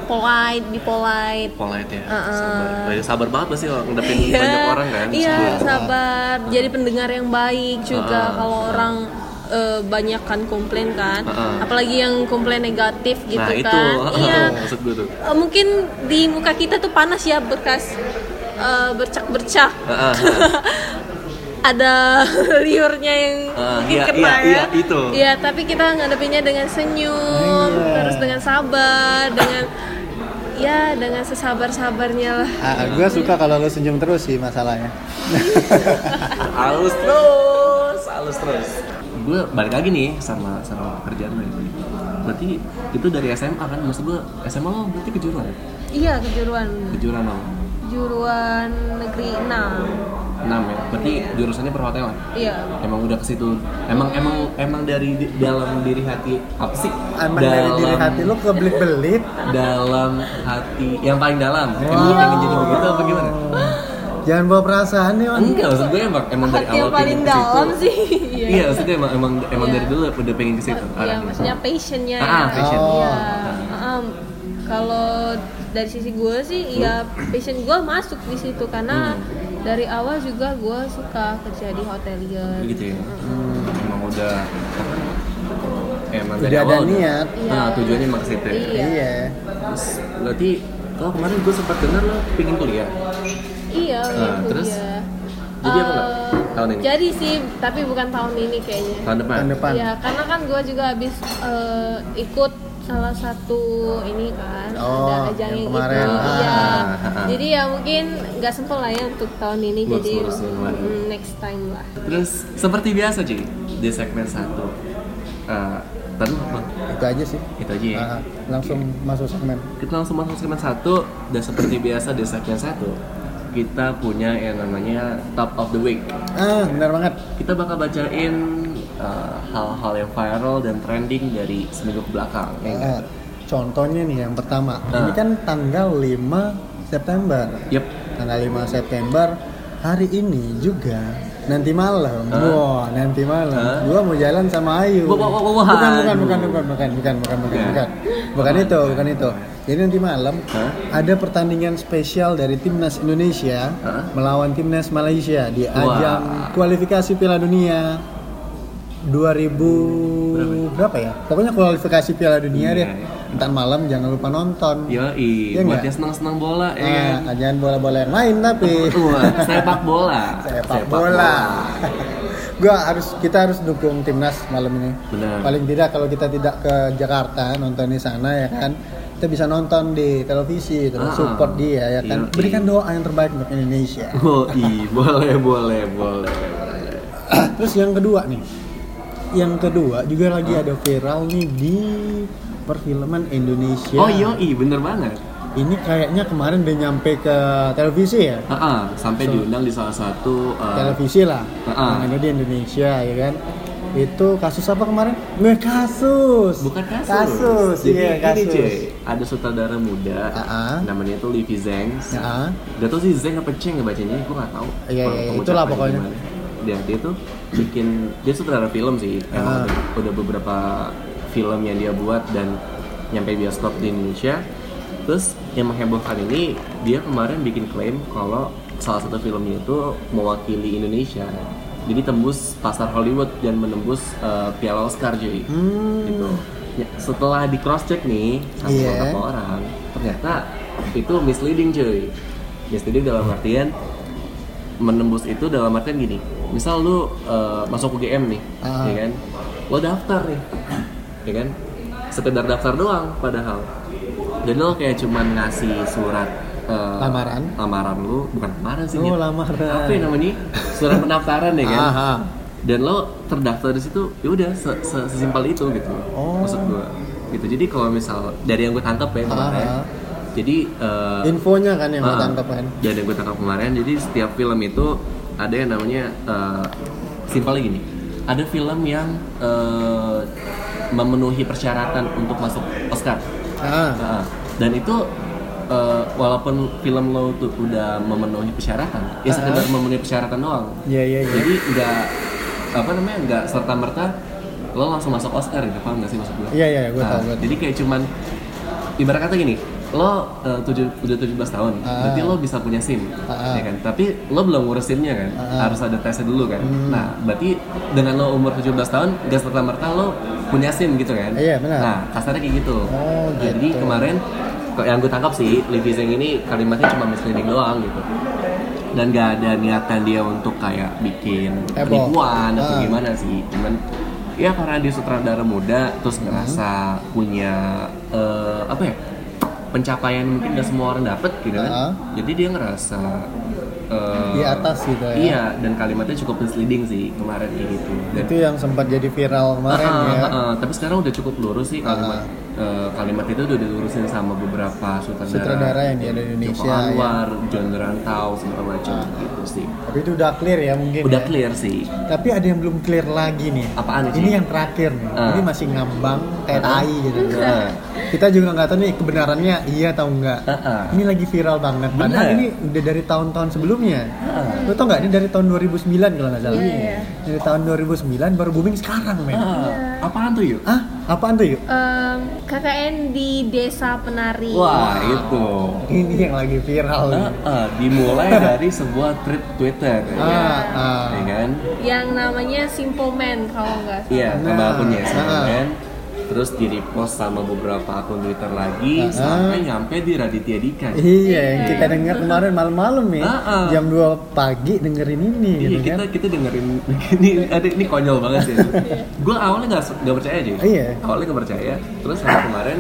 Speaker 3: polite, be polite.
Speaker 1: polite ya
Speaker 3: Uh-uh.
Speaker 1: sabar Banyak- sabar banget pasti orang ngadepin
Speaker 3: Iya.
Speaker 1: banyak orang kan
Speaker 3: Iya,
Speaker 1: Sebulan.
Speaker 3: sabar. Jadi pendengar yang baik juga
Speaker 1: Ah,
Speaker 3: kalau
Speaker 1: ah.
Speaker 3: orang eh, banyak kan komplain kan.
Speaker 1: Ah, ah.
Speaker 3: Apalagi yang komplain negatif gitu
Speaker 1: nah
Speaker 3: kan.
Speaker 1: itu
Speaker 3: Iya.
Speaker 1: maksud gue tuh
Speaker 3: Eh, mungkin di muka kita tuh panas ya bekas eh, bercak-bercak.
Speaker 1: Ah, ah,
Speaker 3: Ada liurnya yang
Speaker 1: Ah,
Speaker 3: mungkin
Speaker 1: iya,
Speaker 3: kena
Speaker 1: iya,
Speaker 3: ya.
Speaker 1: iya, itu.
Speaker 3: Iya, tapi kita ngadepinnya dengan senyum,
Speaker 2: Iya.
Speaker 3: terus dengan sabar, dengan ya dengan sesabar-sabarnya lah.
Speaker 2: ah gua suka kalau lo senyum terus sih masalahnya
Speaker 1: halus terus halus terus gue balik lagi nih sama sama kerjaan lo ini berarti itu dari SMA kan maksud gue SMA lo berarti kejuruan ya?
Speaker 3: Iya, kejuruan.
Speaker 1: kejuruan lo
Speaker 3: juruan negeri 6
Speaker 1: enam ya berarti jurusannya perhotelan
Speaker 3: iya
Speaker 1: emang udah ke situ emang emang emang dari di- dalam diri hati apa sih
Speaker 2: emang dari diri hati lo kebelit-belit
Speaker 1: dalam hati yang paling dalam emang
Speaker 2: Wow.
Speaker 1: lo pengen jadi begitu apa gimana
Speaker 2: jangan bawa perasaan nih on
Speaker 1: enggak maksud gue emang emang dari
Speaker 3: hati
Speaker 1: awal
Speaker 3: yang paling
Speaker 1: pengen ke situ.
Speaker 3: dalam sih
Speaker 1: iya maksudnya emang emang emang dari dulu udah pengen ke situ
Speaker 3: iya
Speaker 1: arahnya.
Speaker 3: maksudnya passionnya
Speaker 1: Ah, ah, passion.
Speaker 3: Iya. Ah, kalau dari sisi gue sih ya passion gue masuk di situ karena
Speaker 1: Hmm.
Speaker 3: dari awal juga gue suka kerja di hotelier
Speaker 1: gitu ya emang udah emang dari
Speaker 2: Hmm. udah ada
Speaker 1: awal udah-
Speaker 2: niat
Speaker 1: nah tujuannya emang ke situ ya
Speaker 3: Iya.
Speaker 2: iya
Speaker 1: terus berarti kalau kemarin gue sempat dengar lo pingin kuliah
Speaker 3: iya
Speaker 1: Ah,
Speaker 3: iya,
Speaker 1: terus?
Speaker 3: kuliah.
Speaker 1: Jadi apa, Kak?
Speaker 3: Eh,
Speaker 1: Tahun ini?
Speaker 3: jadi sih tapi bukan tahun ini kayaknya
Speaker 1: tahun depan
Speaker 2: tahun depan
Speaker 3: Iya, karena kan gue juga habis eh, ikut salah satu ini kan
Speaker 2: Oh,
Speaker 3: ada ajang
Speaker 2: yang
Speaker 3: yang
Speaker 2: kemarin.
Speaker 3: itu.
Speaker 2: Ah,
Speaker 3: Iya.
Speaker 1: ah, ah.
Speaker 3: Jadi ya mungkin nggak sempet lah ya untuk tahun ini
Speaker 1: Ngurus-
Speaker 3: jadi
Speaker 1: ngurusin lah.
Speaker 3: mm, next time lah.
Speaker 1: terus seperti biasa cuy di segmen satu Eh, tadi apa?
Speaker 2: itu aja sih
Speaker 1: itu aja ya
Speaker 2: Ah, langsung masuk segmen
Speaker 1: kita langsung masuk ke segmen satu dan seperti biasa di segmen satu kita punya yang namanya top of the week
Speaker 2: ah benar banget
Speaker 1: kita bakal bacain eh, hal-hal yang viral dan trending dari seminggu kebelakang ya nggak?
Speaker 2: Ah, contohnya nih yang pertama
Speaker 1: Ah.
Speaker 2: ini kan tanggal 5 September
Speaker 1: Yep.
Speaker 2: tanggal 5 September hari ini juga nanti malam
Speaker 1: Ah.
Speaker 2: wah nanti malam
Speaker 1: Ah.
Speaker 2: gua mau jalan sama Ayu
Speaker 1: Wah, wah, wah, wah,
Speaker 2: bukan bukan
Speaker 1: aduh.
Speaker 2: bukan bukan bukan bukan bukan bukan
Speaker 1: Ya.
Speaker 2: bukan bukan itu bukan itu jadi nanti malam
Speaker 1: Hah?
Speaker 2: ada pertandingan spesial dari timnas Indonesia
Speaker 1: Hah?
Speaker 2: melawan timnas Malaysia di
Speaker 1: Wah.
Speaker 2: ajang kualifikasi Piala Dunia 2000 berapa, ya? Pokoknya kualifikasi Piala Dunia
Speaker 1: Iya,
Speaker 2: deh. Entar malam jangan lupa nonton.
Speaker 1: Yo,
Speaker 2: Iya
Speaker 1: buat
Speaker 2: nggak?
Speaker 1: yang senang-senang bola, ya
Speaker 2: Nah,
Speaker 1: kan?
Speaker 2: jangan bola-bola yang lain tapi
Speaker 1: Wah, sepak bola.
Speaker 2: sepak bola. Gua harus kita harus dukung timnas malam ini.
Speaker 1: Benar.
Speaker 2: Paling tidak kalau kita tidak ke Jakarta nonton di sana ya kan. Kita bisa nonton di televisi
Speaker 1: Ah,
Speaker 2: terus support dia ya
Speaker 1: iya,
Speaker 2: kan.
Speaker 1: iya.
Speaker 2: Berikan doa yang terbaik untuk Indonesia.
Speaker 1: Oh, i, boleh, boleh, boleh. boleh.
Speaker 2: Terus yang kedua nih, yang kedua juga lagi
Speaker 1: Ah.
Speaker 2: ada viral nih di perfilman Indonesia.
Speaker 1: Oh, yo, i, bener banget.
Speaker 2: Ini kayaknya kemarin udah nyampe ke televisi ya,
Speaker 1: Heeh, sampai diundang di salah satu eh,
Speaker 2: televisi lah,
Speaker 1: Ah.
Speaker 2: yang ada di Indonesia ya kan. Itu kasus apa kemarin? Eh, kasus.
Speaker 1: bukan kasus.
Speaker 2: Kasus,
Speaker 1: Jadi
Speaker 2: iya
Speaker 1: gini,
Speaker 2: kasus.
Speaker 1: cuy, ada sutradara muda,
Speaker 2: Ah.
Speaker 1: namanya itu Livi Zengs.
Speaker 2: Ya,
Speaker 1: Gak tau sih Zeng apa ya Ceng ngebacanya, gue gak tau
Speaker 2: Iya,
Speaker 1: peng-
Speaker 2: iya,
Speaker 1: pengucapannya
Speaker 2: itulah pokoknya.
Speaker 1: gimana. Dia, dia tuh bikin, dia sutradara film sih
Speaker 2: Ah.
Speaker 1: Emang udah, udah beberapa film yang dia buat dan nyampe bioskop di Indonesia Terus yang menghebohkan ini dia kemarin bikin klaim kalau salah satu filmnya itu mewakili Indonesia. Jadi tembus pasar Hollywood dan menembus eh, Piala Oscar jadi. Gitu. Ya, setelah di cross check nih sama
Speaker 2: Hmm. Iya.
Speaker 1: beberapa orang, ternyata itu misleading cuy. Misleading dalam artian menembus itu dalam artian gini. Misal lu eh, masuk UGM nih,
Speaker 2: Ah.
Speaker 1: ya kan? Lo daftar nih, ya kan? Sekedar daftar doang padahal. Dan lo kayak cuman ngasih surat eh,
Speaker 2: Lamaran.
Speaker 1: lamaran lu bukan lamaran sih Dit.
Speaker 2: Oh, lamaran. Ah.
Speaker 1: apa ya namanya surat pendaftaran ya kan
Speaker 2: Aha.
Speaker 1: dan lo terdaftar di situ ya udah se- se- sesimpel itu gitu
Speaker 2: Oh.
Speaker 1: maksud gua gitu jadi kalau misal dari yang gue tangkap ya kemarin
Speaker 2: Aha.
Speaker 1: jadi eh,
Speaker 2: Infonya kan Ah. yang
Speaker 1: Ah,
Speaker 2: ditangkap kan.
Speaker 1: ya, ada yang gue tangkap kemarin. Jadi setiap film itu ada yang namanya eh, simpelnya gini. Ada film yang eh, memenuhi persyaratan untuk masuk Oscar.
Speaker 2: Ah,
Speaker 1: Ah, dan itu eh, walaupun film lo tuh udah memenuhi persyaratan, ya sekedar memenuhi persyaratan doang.
Speaker 2: Iya, iya, iya.
Speaker 1: Jadi nggak apa namanya nggak serta merta lo langsung masuk Oscar gitu paham nggak sih maksud gue?
Speaker 2: Iya, iya, iya, gua tahu, gua tahu.
Speaker 1: Jadi kayak cuman ibarat kata gini, lo eh, tujuh, udah 17 tahun,
Speaker 2: Ah.
Speaker 1: berarti lo bisa punya SIM,
Speaker 2: Ah, ah.
Speaker 1: ya kan? Tapi lo belum ngurus SIM-nya kan,
Speaker 2: Ah.
Speaker 1: harus ada tesnya dulu kan.
Speaker 2: Hmm.
Speaker 1: Nah, berarti dengan lo umur 17 tahun, gak serta merta lo punya SIM gitu kan?
Speaker 2: Iya, benar.
Speaker 1: Nah, kasarnya kayak gitu.
Speaker 2: Oh,
Speaker 1: Nah, Jadi
Speaker 2: gitu.
Speaker 1: kemarin kok yang gue tangkap sih, Livi Zeng ini kalimatnya cuma misleading doang gitu. Dan gak ada niatan dia untuk kayak bikin
Speaker 2: Heboh.
Speaker 1: penipuan atau
Speaker 2: Ah.
Speaker 1: gimana sih. Cuman ya karena dia sutradara muda terus
Speaker 2: Hmm.
Speaker 1: ngerasa punya eh, apa ya? pencapaian mungkin gak semua orang dapet gitu kan.
Speaker 2: Ah.
Speaker 1: Jadi dia ngerasa eh,
Speaker 2: Di atas gitu ya.
Speaker 1: Iya, dan kalimatnya cukup misleading sih kemarin kayak gitu. Dan
Speaker 2: itu yang sempat jadi viral kemarin
Speaker 1: Ah,
Speaker 2: ya.
Speaker 1: ah, ah. tapi sekarang udah cukup lurus sih kalimat eh, kalimat itu udah dilurusin sama beberapa sutradara,
Speaker 2: Sutradara yang di
Speaker 1: Joko
Speaker 2: Indonesia. ya.
Speaker 1: Anwar, John Rantau, segala macam gitu sih.
Speaker 2: Tapi itu udah clear ya mungkin.
Speaker 1: Udah
Speaker 2: ya.
Speaker 1: clear sih.
Speaker 2: Tapi ada yang belum clear lagi nih.
Speaker 1: Apaan
Speaker 2: Ini
Speaker 1: sih?
Speaker 2: yang terakhir nih.
Speaker 1: Ah.
Speaker 2: Ini masih ngambang TNI gitu.
Speaker 1: Ah.
Speaker 2: Kita juga nggak tahu nih kebenarannya iya atau enggak.
Speaker 1: Ah, ah.
Speaker 2: Ini lagi viral banget.
Speaker 1: Bener.
Speaker 2: Padahal
Speaker 1: Ah.
Speaker 2: ini udah dari tahun-tahun sebelumnya. Lo tau nggak ini dari tahun 2009 kalau nggak salah.
Speaker 3: Iya, iya.
Speaker 2: Dari tahun 2009 baru booming sekarang men.
Speaker 1: Ah, apaan tuh yuk?
Speaker 2: Ah, apaan tuh yuk?
Speaker 3: Em, KKN di Desa Penari.
Speaker 1: Wah itu.
Speaker 2: Ini yang lagi viral. nih.
Speaker 1: Ah, ah, dimulai dari sebuah tweet Twitter, ya kan?
Speaker 2: Ah, ah.
Speaker 1: Ya kan?
Speaker 3: Yang namanya Simple Man kalau nggak salah.
Speaker 1: Iya, sama
Speaker 2: Nah,
Speaker 1: akunnya sama
Speaker 2: ah.
Speaker 1: kan. Terus di repost sama beberapa akun Twitter lagi
Speaker 2: Ah.
Speaker 1: sampai nyampe di Raditya Dika.
Speaker 2: Iya, yang kita dengar kemarin malam-malam ya.
Speaker 1: Ah, ah.
Speaker 2: Jam 2 pagi dengerin ini
Speaker 1: Iya
Speaker 2: gitu
Speaker 1: kita
Speaker 2: kan.
Speaker 1: kita dengerin ini ada ini konyol banget sih. gue awalnya nggak su- nggak percaya sih.
Speaker 2: Iya.
Speaker 1: Awalnya nggak percaya. Terus hari kemarin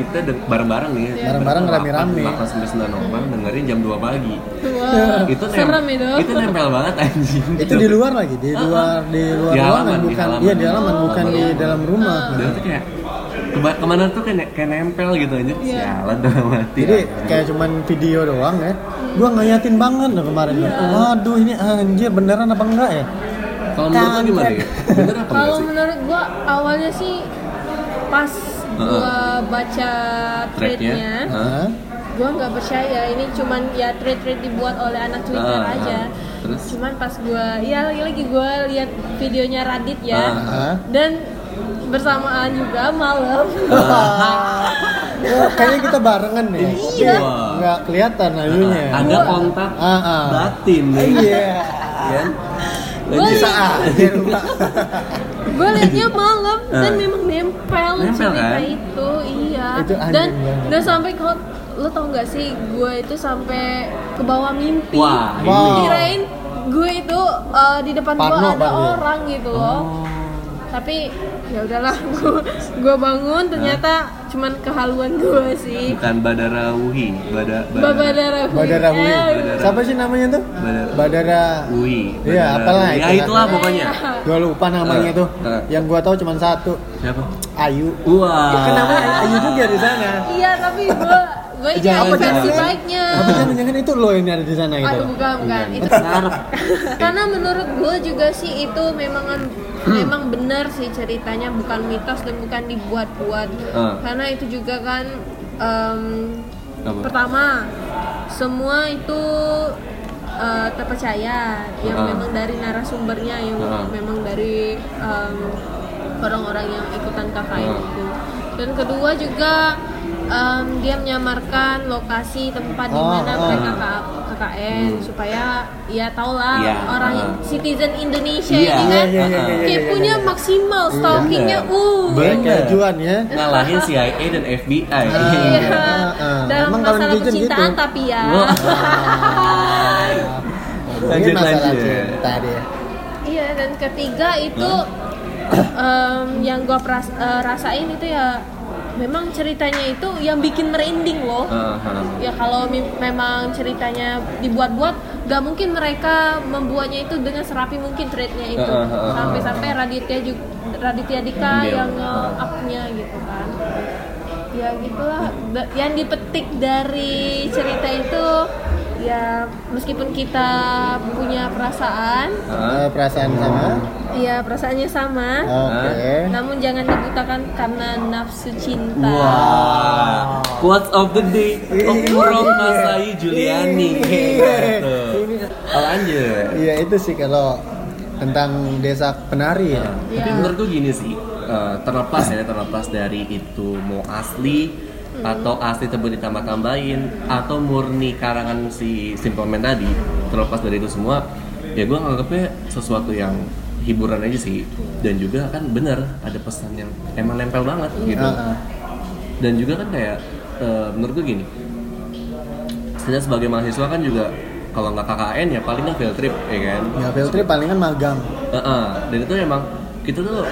Speaker 1: kita deng- bareng-bareng nih. ya.
Speaker 2: Bareng-bareng rame-rame.
Speaker 1: Makan sembilan sembilan orang dengerin jam 2 pagi.
Speaker 3: Wah,
Speaker 1: Itu
Speaker 3: serem itu.
Speaker 1: Itu nempel banget anjing.
Speaker 2: Itu di luar lagi, di luar di luar
Speaker 1: Di halaman,
Speaker 2: ruangan
Speaker 1: di
Speaker 2: bukan.
Speaker 1: halaman.
Speaker 2: Iya, di halaman bukan
Speaker 1: Ah,
Speaker 2: di
Speaker 1: Halaman. Ah.
Speaker 2: dalam rumah. Nah,
Speaker 1: Dan itu kayak kema- kemana tuh kayak kayak nempel gitu aja. Sialan tuh mati.
Speaker 2: Iya. Jadi kayak cuman video doang ya. Gua ngayatin banget loh kemarin.
Speaker 1: Iya.
Speaker 2: Waduh, ini anjir beneran apa enggak ya?
Speaker 1: kalau menurut lo gimana ya? Bener apa enggak
Speaker 3: Kalau
Speaker 1: sih?
Speaker 3: menurut gua awalnya sih pas gua baca
Speaker 1: Tracknya?
Speaker 3: tweetnya,
Speaker 2: Hah?
Speaker 3: gua nggak percaya ini cuman ya tweet-tweet dibuat oleh anak Twitter
Speaker 1: Ah, ah.
Speaker 3: aja.
Speaker 1: Terus?
Speaker 3: Cuman pas gua ya lagi-lagi gua lihat videonya Radit ya.
Speaker 1: Ah.
Speaker 2: Hah?
Speaker 3: Dan bersamaan juga malam.
Speaker 2: Wah, kayaknya kita barengan nih.
Speaker 1: Iya.
Speaker 2: Enggak kelihatan ayunya.
Speaker 1: Ada kontak
Speaker 2: Iya. Ah, ah.
Speaker 1: batin nih.
Speaker 2: Iya. Ah,
Speaker 1: Kan?
Speaker 3: Gua
Speaker 1: Lanjut.
Speaker 2: Bisa aja, Pak.
Speaker 3: gue liatnya malam dan
Speaker 1: Ah.
Speaker 3: memang nempel,
Speaker 1: Nempel,
Speaker 3: cerita
Speaker 1: kan?
Speaker 3: itu iya
Speaker 2: Itu anjing
Speaker 3: dan
Speaker 2: banget.
Speaker 3: dan sampai kau lo tau gak sih gue itu sampai ke bawah mimpi
Speaker 1: Wah,
Speaker 2: Wow.
Speaker 1: ini.
Speaker 3: kirain gue itu uh, di depan gue
Speaker 2: Parno,
Speaker 3: ada
Speaker 2: Pak, ya?
Speaker 3: orang gitu loh
Speaker 1: Oh.
Speaker 3: tapi ya udahlah gue gue bangun ternyata cuman kehaluan gue sih
Speaker 1: Bukan Badara Wuhi, Bada,
Speaker 3: Babadara Hui.
Speaker 2: Badara
Speaker 1: Iya,
Speaker 2: Hui.
Speaker 3: Eh,
Speaker 1: Badara.
Speaker 2: Siapa sih namanya tuh?
Speaker 1: Badara.
Speaker 2: Badara.
Speaker 1: Wuhi.
Speaker 2: Iya,
Speaker 1: Badara
Speaker 2: apalah
Speaker 1: Wuhi.
Speaker 2: itu
Speaker 1: Ya
Speaker 2: kan.
Speaker 1: itulah pokoknya.
Speaker 2: Gua lupa namanya
Speaker 1: Eh,
Speaker 2: tuh.
Speaker 1: eh.
Speaker 2: Yang gua tahu cuma satu,
Speaker 1: Siapa?
Speaker 2: Ayu.
Speaker 1: Wah.
Speaker 3: Ah.
Speaker 2: Ya, kenapa Ayu juga di sana?
Speaker 3: iya tapi gue gue ini
Speaker 2: Jangan,
Speaker 3: ada versi
Speaker 2: jangan.
Speaker 3: baiknya
Speaker 2: Tapi jangan-jangan itu lo yang ada di sana gitu.
Speaker 3: aduh bukan bukan itu
Speaker 1: Ngarep.
Speaker 3: Karena menurut gue juga sih itu memang
Speaker 1: Hmm.
Speaker 3: memang benar sih ceritanya bukan mitos dan bukan dibuat-buat.
Speaker 1: Ah.
Speaker 3: Karena itu juga kan em,
Speaker 1: Apa?
Speaker 3: pertama semua itu eh, terpercaya yang
Speaker 1: Ah.
Speaker 3: memang dari narasumbernya yang
Speaker 1: Ah.
Speaker 3: memang dari em, orang-orang yang ikutan KKN
Speaker 1: Ah.
Speaker 3: itu. Dan kedua juga em, dia menyamarkan lokasi tempat di
Speaker 2: Oh,
Speaker 1: Ah,
Speaker 3: mana
Speaker 2: oh.
Speaker 3: mereka K- KKN
Speaker 1: Hmm.
Speaker 3: supaya ya tau lah
Speaker 1: Iya,
Speaker 3: orang
Speaker 1: heeh.
Speaker 3: citizen Indonesia
Speaker 1: Iya,
Speaker 3: ini kan
Speaker 2: iya, iya, iya, iya, iya,
Speaker 3: kepunya
Speaker 2: iya.
Speaker 3: maksimal stalkingnya
Speaker 1: Bener.
Speaker 3: uh
Speaker 1: Bener.
Speaker 2: tujuan ya
Speaker 1: ngalahin CIA dan FBI.
Speaker 2: Iya.
Speaker 3: Iya.
Speaker 2: Heeh.
Speaker 3: dalam
Speaker 2: Emang kalau
Speaker 3: masalah
Speaker 2: netizen gitu?
Speaker 3: percintaan tapi ya
Speaker 1: Wah.
Speaker 2: Ini
Speaker 1: Lanjut,
Speaker 2: masalah
Speaker 1: lanjut.
Speaker 2: cinta dia
Speaker 3: Iya dan ketiga itu em, yang gua peras- eh, rasain itu ya memang ceritanya itu yang bikin merinding loh.
Speaker 1: Ah, ah.
Speaker 3: Ya kalau mi- memang ceritanya dibuat-buat, gak mungkin mereka membuatnya itu dengan serapi mungkin trade-nya itu.
Speaker 1: Ah, ah, ah,
Speaker 3: Sampai-sampai Raditya juga Raditya Dika
Speaker 1: Ambil.
Speaker 3: yang
Speaker 1: Ah.
Speaker 3: nge-up-nya gitu kan. Ya gitulah Ba- yang dipetik dari cerita itu ya meskipun kita punya perasaan
Speaker 2: Eh, perasaan sama
Speaker 3: Iya, perasaannya sama.
Speaker 2: oke
Speaker 3: Namun jangan dibutakan karena nafsu cinta.
Speaker 1: Wah, quotes of the day Prof. Nasai Juliani
Speaker 2: Iya.
Speaker 1: Gitu.
Speaker 2: Ini-
Speaker 1: Oh, Lanjut
Speaker 2: Iya itu sih kalau tentang desa penari ya.
Speaker 1: Tapi menurut gue gini sih eh, Terlepas ya, terlepas dari itu mau asli Atau asli tebu ditambah-tambahin Atau murni karangan si Simple Man tadi Terlepas dari itu semua Ya gue nganggapnya sesuatu yang hiburan aja sih Dan juga kan bener ada pesan yang emang nempel banget gitu
Speaker 2: Heeh.
Speaker 1: dan juga kan kayak eh, menurut gue gini saya sebagai mahasiswa kan juga kalau nggak KKN ya paling nggak field trip ya kan
Speaker 2: Ya field trip palingan magang.
Speaker 1: Heeh. dan itu emang kita tuh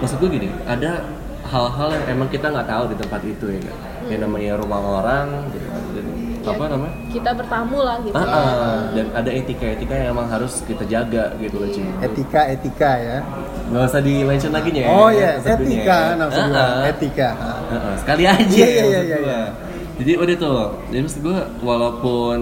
Speaker 1: maksud gue gini ada hal-hal yang emang kita nggak tahu di tempat itu ya kan yang
Speaker 2: Hmm.
Speaker 1: namanya rumah orang gitu kan. Dan
Speaker 2: Iya.
Speaker 1: apa namanya
Speaker 3: Kita bertamu lah gitu.
Speaker 2: Ah.
Speaker 1: Heeh. dan ada etika-etika yang emang harus kita jaga gitu loh cing
Speaker 2: Etika etika ya.
Speaker 1: nggak usah di mention lagi ya
Speaker 2: Oh iya
Speaker 1: episode dunia.
Speaker 2: etika maksud gua.
Speaker 1: ya. Heeh.
Speaker 2: Etika.
Speaker 1: Heeh, sekali aja
Speaker 2: Iya, iya,
Speaker 1: maksud
Speaker 2: iya,
Speaker 1: gua.
Speaker 2: iya.
Speaker 1: jadi udah tuh jadi maksud gue walaupun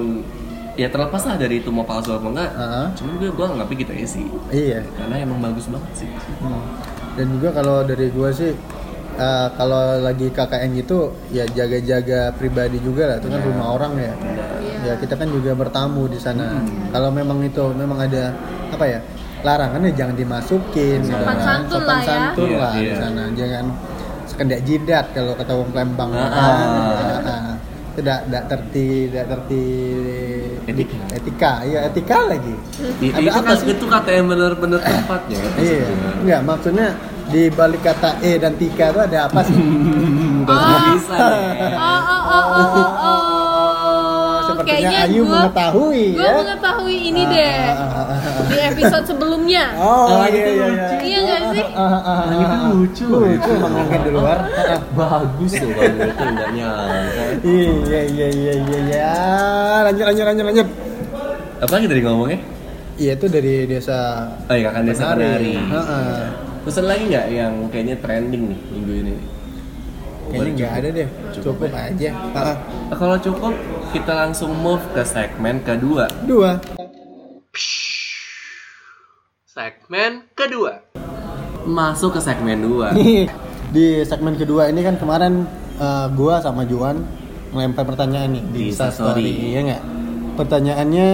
Speaker 1: ya terlepas lah dari itu mau palsu apa enggak
Speaker 2: Heeh.
Speaker 1: cuman gue gue nggak gitu aja sih
Speaker 2: Iya.
Speaker 1: karena emang bagus banget sih
Speaker 2: Hmm. Dan juga kalau dari gua sih eh, kalau lagi KKN gitu ya jaga-jaga pribadi juga lah itu
Speaker 1: Iya.
Speaker 2: kan rumah orang ya.
Speaker 3: Iya.
Speaker 2: Ya kita kan juga bertamu di sana.
Speaker 1: Hmm.
Speaker 2: Kalau memang itu memang ada apa ya larangannya jangan dimasukin. gitu
Speaker 3: Sopan
Speaker 2: kan.
Speaker 3: santun
Speaker 2: Sopan
Speaker 3: lah ya.
Speaker 2: santun
Speaker 1: Iya,
Speaker 2: lah di
Speaker 1: iya.
Speaker 2: sana jangan sekendak jidat kalau kata wong Palembang.
Speaker 1: Ah.
Speaker 2: Kan. Ah. Itu tidak tidak terti tidak terti
Speaker 1: Etika.
Speaker 2: etika ya etika lagi.
Speaker 1: I-
Speaker 2: Ada
Speaker 1: itu
Speaker 2: apa
Speaker 1: kan
Speaker 2: sih?
Speaker 1: itu kata yang bener-bener ya, tepatnya
Speaker 2: Iya, enggak maksudnya di balik kata E dan Tika itu ada apa sih?
Speaker 1: Gak bisa
Speaker 3: Oh,
Speaker 1: ya.
Speaker 2: Ah.
Speaker 3: oh, oh, oh, oh, oh.
Speaker 2: Sepertinya
Speaker 3: Kayaknya
Speaker 2: Ayu
Speaker 3: gua,
Speaker 2: mengetahui
Speaker 3: gua
Speaker 2: ya.
Speaker 3: mengetahui ini
Speaker 2: Ah,
Speaker 3: deh.
Speaker 2: ah, ah, ah, ah.
Speaker 3: Di episode sebelumnya.
Speaker 2: Oh,
Speaker 1: Ah,
Speaker 2: iya,
Speaker 1: itu
Speaker 2: iya,
Speaker 1: lucu.
Speaker 3: Iya nggak sih?
Speaker 2: Ah, ah, ah,
Speaker 1: Langit itu
Speaker 2: ah, ah.
Speaker 1: kan lucu.
Speaker 2: Lucu emang langit di luar. Ah, ah.
Speaker 1: bagus tuh kalau itu nggak nyangka
Speaker 2: Iya, iya, iya, iya, iya. Lanjut, lanjut, lanjut, lanjut.
Speaker 1: apa lagi tadi ngomongnya
Speaker 2: Iya itu dari desa
Speaker 1: oh iya kakak desa penari
Speaker 2: Ah, ah.
Speaker 1: pesan lagi nggak yang kayaknya trending nih minggu ini
Speaker 2: Kayaknya nggak ada deh. Cukup aja. Ah, ah.
Speaker 1: Nah, Kalau cukup, kita langsung move ke segmen kedua.
Speaker 2: Dua.
Speaker 1: Segmen kedua. Masuk ke segmen dua.
Speaker 2: Nih, di segmen kedua ini kan kemarin eh, gua sama Juan ngelempar pertanyaan nih di
Speaker 1: Di
Speaker 2: Insta
Speaker 1: Instastory.
Speaker 2: Story, iya nggak? Pertanyaannya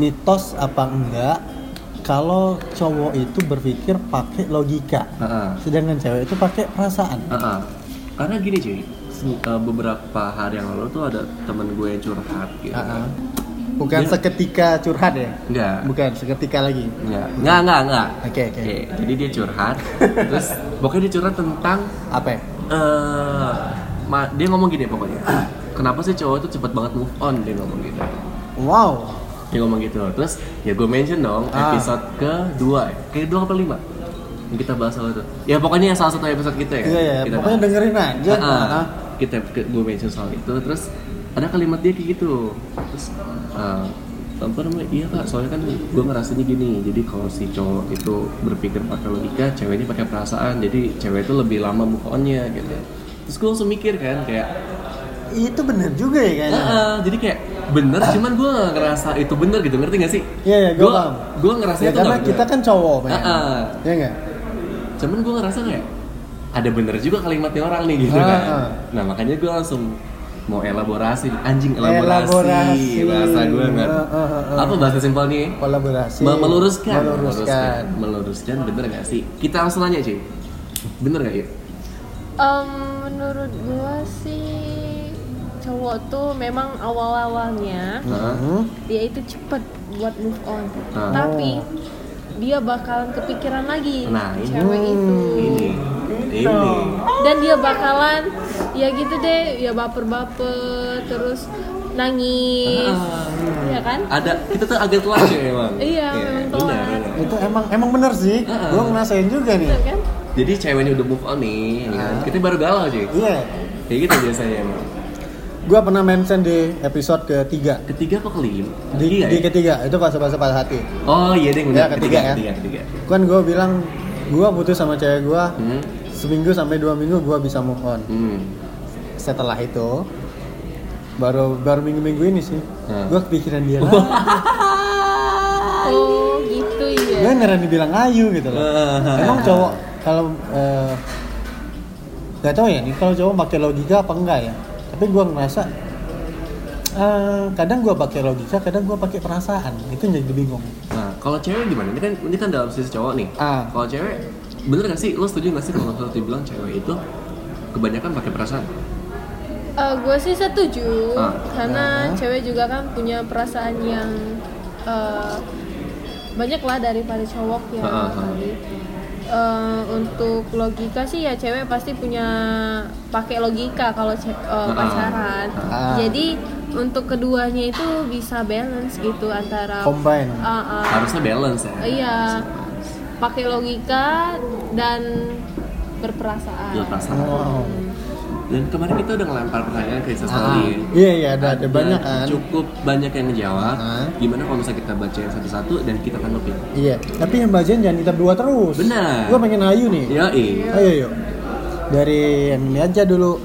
Speaker 2: mitos apa enggak kalau cowok itu berpikir pakai logika,
Speaker 1: Heeh.
Speaker 2: sedangkan cewek itu pakai perasaan.
Speaker 1: Heeh. Karena gini cuy, se- eh, beberapa hari yang lalu tuh ada temen gue yang curhat gitu.
Speaker 2: Heeh. Bukan seketika curhat ya?
Speaker 1: Enggak.
Speaker 2: Bukan seketika lagi.
Speaker 1: Enggak, enggak, enggak, enggak.
Speaker 2: Oke, oke.
Speaker 1: Oke, jadi dia curhat, terus pokoknya dia curhat tentang
Speaker 2: Apa? ya?
Speaker 1: eh ma- dia ngomong gini pokoknya. Kenapa sih cowok itu cepet banget move on dia ngomong gitu.
Speaker 2: Wow.
Speaker 1: dia ngomong gitu terus ya gue mention dong
Speaker 2: Ah.
Speaker 1: episode kedua ya. kedua apa lima yang kita bahas soal itu ya pokoknya yang salah satu episode kita ya
Speaker 2: Iya ya,
Speaker 1: kita
Speaker 2: pokoknya
Speaker 1: bahas.
Speaker 2: dengerin aja.
Speaker 1: Ah, ah.
Speaker 2: Heeh.
Speaker 1: kita gue mention soal itu terus ada kalimat dia kayak gitu terus ah, apa namanya iya kak soalnya kan gue ngerasanya gini jadi kalau si cowok itu berpikir pakai logika ceweknya pakai perasaan jadi cewek itu lebih lama move on-nya gitu terus gue langsung mikir kan kayak
Speaker 2: Itu bener juga ya kayaknya.
Speaker 1: Heeh, jadi kayak bener, cuman gue ngerasa itu bener gitu, ngerti gak sih?
Speaker 2: Ah. Iya, iya, gua paham.
Speaker 1: Gue ngerasa
Speaker 2: Ya,
Speaker 1: itu
Speaker 2: karena
Speaker 1: gak bener.
Speaker 2: kita kan cowok, men.
Speaker 1: Heeh.
Speaker 2: Iya nggak?
Speaker 1: Cuman gue ngerasa kayak ada bener juga kalimatnya orang nih gitu kan.
Speaker 2: Heeh.
Speaker 1: Nah makanya gue langsung mau elaborasi, anjing elaborasi,
Speaker 2: Elaborasi.
Speaker 1: bahasa gue nggak.
Speaker 2: Heeh, heeh.
Speaker 1: Apa bahasa simpelnya? ya?
Speaker 2: Kolaborasi.
Speaker 1: Me- meluruskan.
Speaker 2: Meluruskan.
Speaker 1: meluruskan, meluruskan, bener gak sih? Kita langsung nanya cuy, bener gak ya?
Speaker 3: Em, menurut gua sih cowok tuh memang awal-awalnya
Speaker 1: Hah?
Speaker 2: Hmm?
Speaker 3: dia itu cepet buat move on
Speaker 1: Ah.
Speaker 3: tapi dia bakalan kepikiran lagi
Speaker 1: Nah, ini.
Speaker 3: cewek itu
Speaker 1: ini
Speaker 3: Gitu.
Speaker 1: ini
Speaker 3: dan dia bakalan ya gitu deh ya baper-baper terus nangis
Speaker 2: Ah.
Speaker 3: iya kan
Speaker 1: Ah. ada kita tuh agak telat ya emang
Speaker 3: Iya, memang
Speaker 1: benar,
Speaker 3: telat.
Speaker 1: benar.
Speaker 2: Itu emang emang bener sih.
Speaker 1: Heeh.
Speaker 2: Gue ngerasain juga nih.
Speaker 3: Bener kan
Speaker 1: jadi ceweknya udah move on nih ya kan?
Speaker 2: Ah.
Speaker 1: kita baru galau cuy
Speaker 2: Iya.
Speaker 1: kayak gitu biasanya emang
Speaker 2: Gue pernah mention di episode ketiga.
Speaker 1: ketiga apa kelima Ketiga
Speaker 2: Di, di
Speaker 1: ya?
Speaker 2: ketiga itu pas pas pas hati.
Speaker 1: oh iya deh benar
Speaker 2: Ya,
Speaker 1: ketiga
Speaker 2: ketiga, ya.
Speaker 1: ketiga ketiga
Speaker 2: Kan gue bilang gue putus sama cewek gue
Speaker 1: hmm.
Speaker 2: seminggu sampai dua minggu gue bisa move on.
Speaker 1: Hmm.
Speaker 2: Setelah itu baru baru minggu minggu ini sih
Speaker 1: Hmm.
Speaker 2: gue kepikiran dia lah.
Speaker 3: oh gitu
Speaker 2: gue
Speaker 3: ya
Speaker 2: ngeran dibilang ayu gitu loh. Emang cowok kalau eh, nggak tahu ya nih kalau cowok pakai logika apa enggak ya. Tapi gua ngerasa eh, kadang gua pakai logika, kadang gua pakai perasaan. Itu yang jadi bingung.
Speaker 1: nah kalau cewek gimana ini kan ini kan dalam sisi cowok nih
Speaker 2: Ah.
Speaker 1: kalau cewek bener gak sih lo setuju gak sih kalau misalnya dibilang cewek itu kebanyakan pakai perasaan
Speaker 3: gue Eh, sih setuju
Speaker 1: Ah.
Speaker 3: karena
Speaker 2: Ah.
Speaker 3: cewek juga kan punya perasaan yang eh, banyak lah daripada cowok ya
Speaker 1: Ah, ah, ah.
Speaker 3: tadi Eh, untuk logika sih ya cewek pasti punya pakai logika kalau ce- eh,
Speaker 1: ah.
Speaker 3: pacaran
Speaker 2: Ah.
Speaker 3: jadi untuk keduanya itu bisa balance gitu antara
Speaker 2: Combine.
Speaker 3: Ah, ah.
Speaker 1: harusnya balance ya
Speaker 3: Iya, pakai logika dan
Speaker 1: Gila,
Speaker 3: berperasaan.
Speaker 1: perasaan
Speaker 2: Wow.
Speaker 1: dan kemarin kita udah ngelempar pertanyaan ke
Speaker 2: Ah,
Speaker 1: Instastory ya.
Speaker 2: iya iya ada ada banyak kan.
Speaker 1: cukup banyak yang menjawab
Speaker 2: Ah.
Speaker 1: gimana kalau misalnya kita bacain satu-satu dan kita tanggepin
Speaker 2: Iya, tapi yang bagian jangan kita berdua terus.
Speaker 1: Benar.
Speaker 2: Gua pengen ayu nih.
Speaker 1: ya
Speaker 2: Ayo yuk. Dari yang ini aja dulu.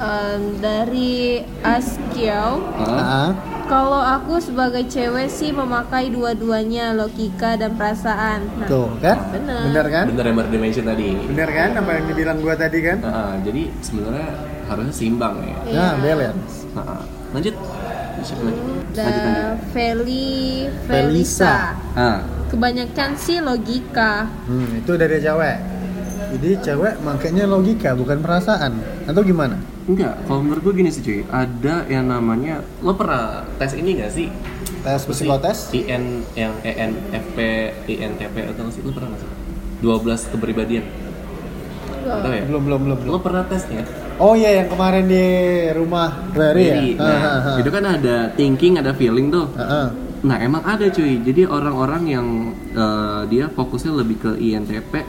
Speaker 3: Em, Eh, dari Askiel,
Speaker 2: Ah.
Speaker 3: kalau aku sebagai cewek sih memakai dua-duanya logika dan perasaan. Nah,
Speaker 2: Tuh, kan?
Speaker 3: Benar.
Speaker 2: Bener kan?
Speaker 1: bener yang baru dimention tadi
Speaker 2: Bener kan apa yang dibilang gua tadi kan?
Speaker 1: Ah, jadi sebenarnya harusnya seimbang ya
Speaker 2: Nah,
Speaker 3: Iya.
Speaker 2: balance.
Speaker 1: Ah, ah. lanjut Siapa lagi? lanjut lanjut
Speaker 3: Da Feli
Speaker 2: Felisa.
Speaker 3: Felisa.
Speaker 1: ah
Speaker 3: Kebanyakan sih logika.
Speaker 2: Hmm, itu dari cewek. Jadi cewek makanya logika bukan perasaan atau gimana?
Speaker 1: enggak kalau menurut gue gini sih cuy ada yang namanya lo pernah tes ini gak sih
Speaker 2: Tes psikotes?
Speaker 1: IN yang E ENFP INTP atau nggak sih lo pernah nggak sih 12 kepribadian Tahu ya?
Speaker 2: Belum belum belum belum.
Speaker 1: Lo pernah ya? tesnya?
Speaker 2: Oh iya yang kemarin di rumah Rary ya.
Speaker 1: Jadi,
Speaker 2: Ha, ha, ha.
Speaker 1: Nah, itu kan ada thinking, ada feeling tuh.
Speaker 2: Ha, ha.
Speaker 1: Nah, emang ada cuy. Jadi orang-orang yang eh, dia fokusnya lebih ke INTP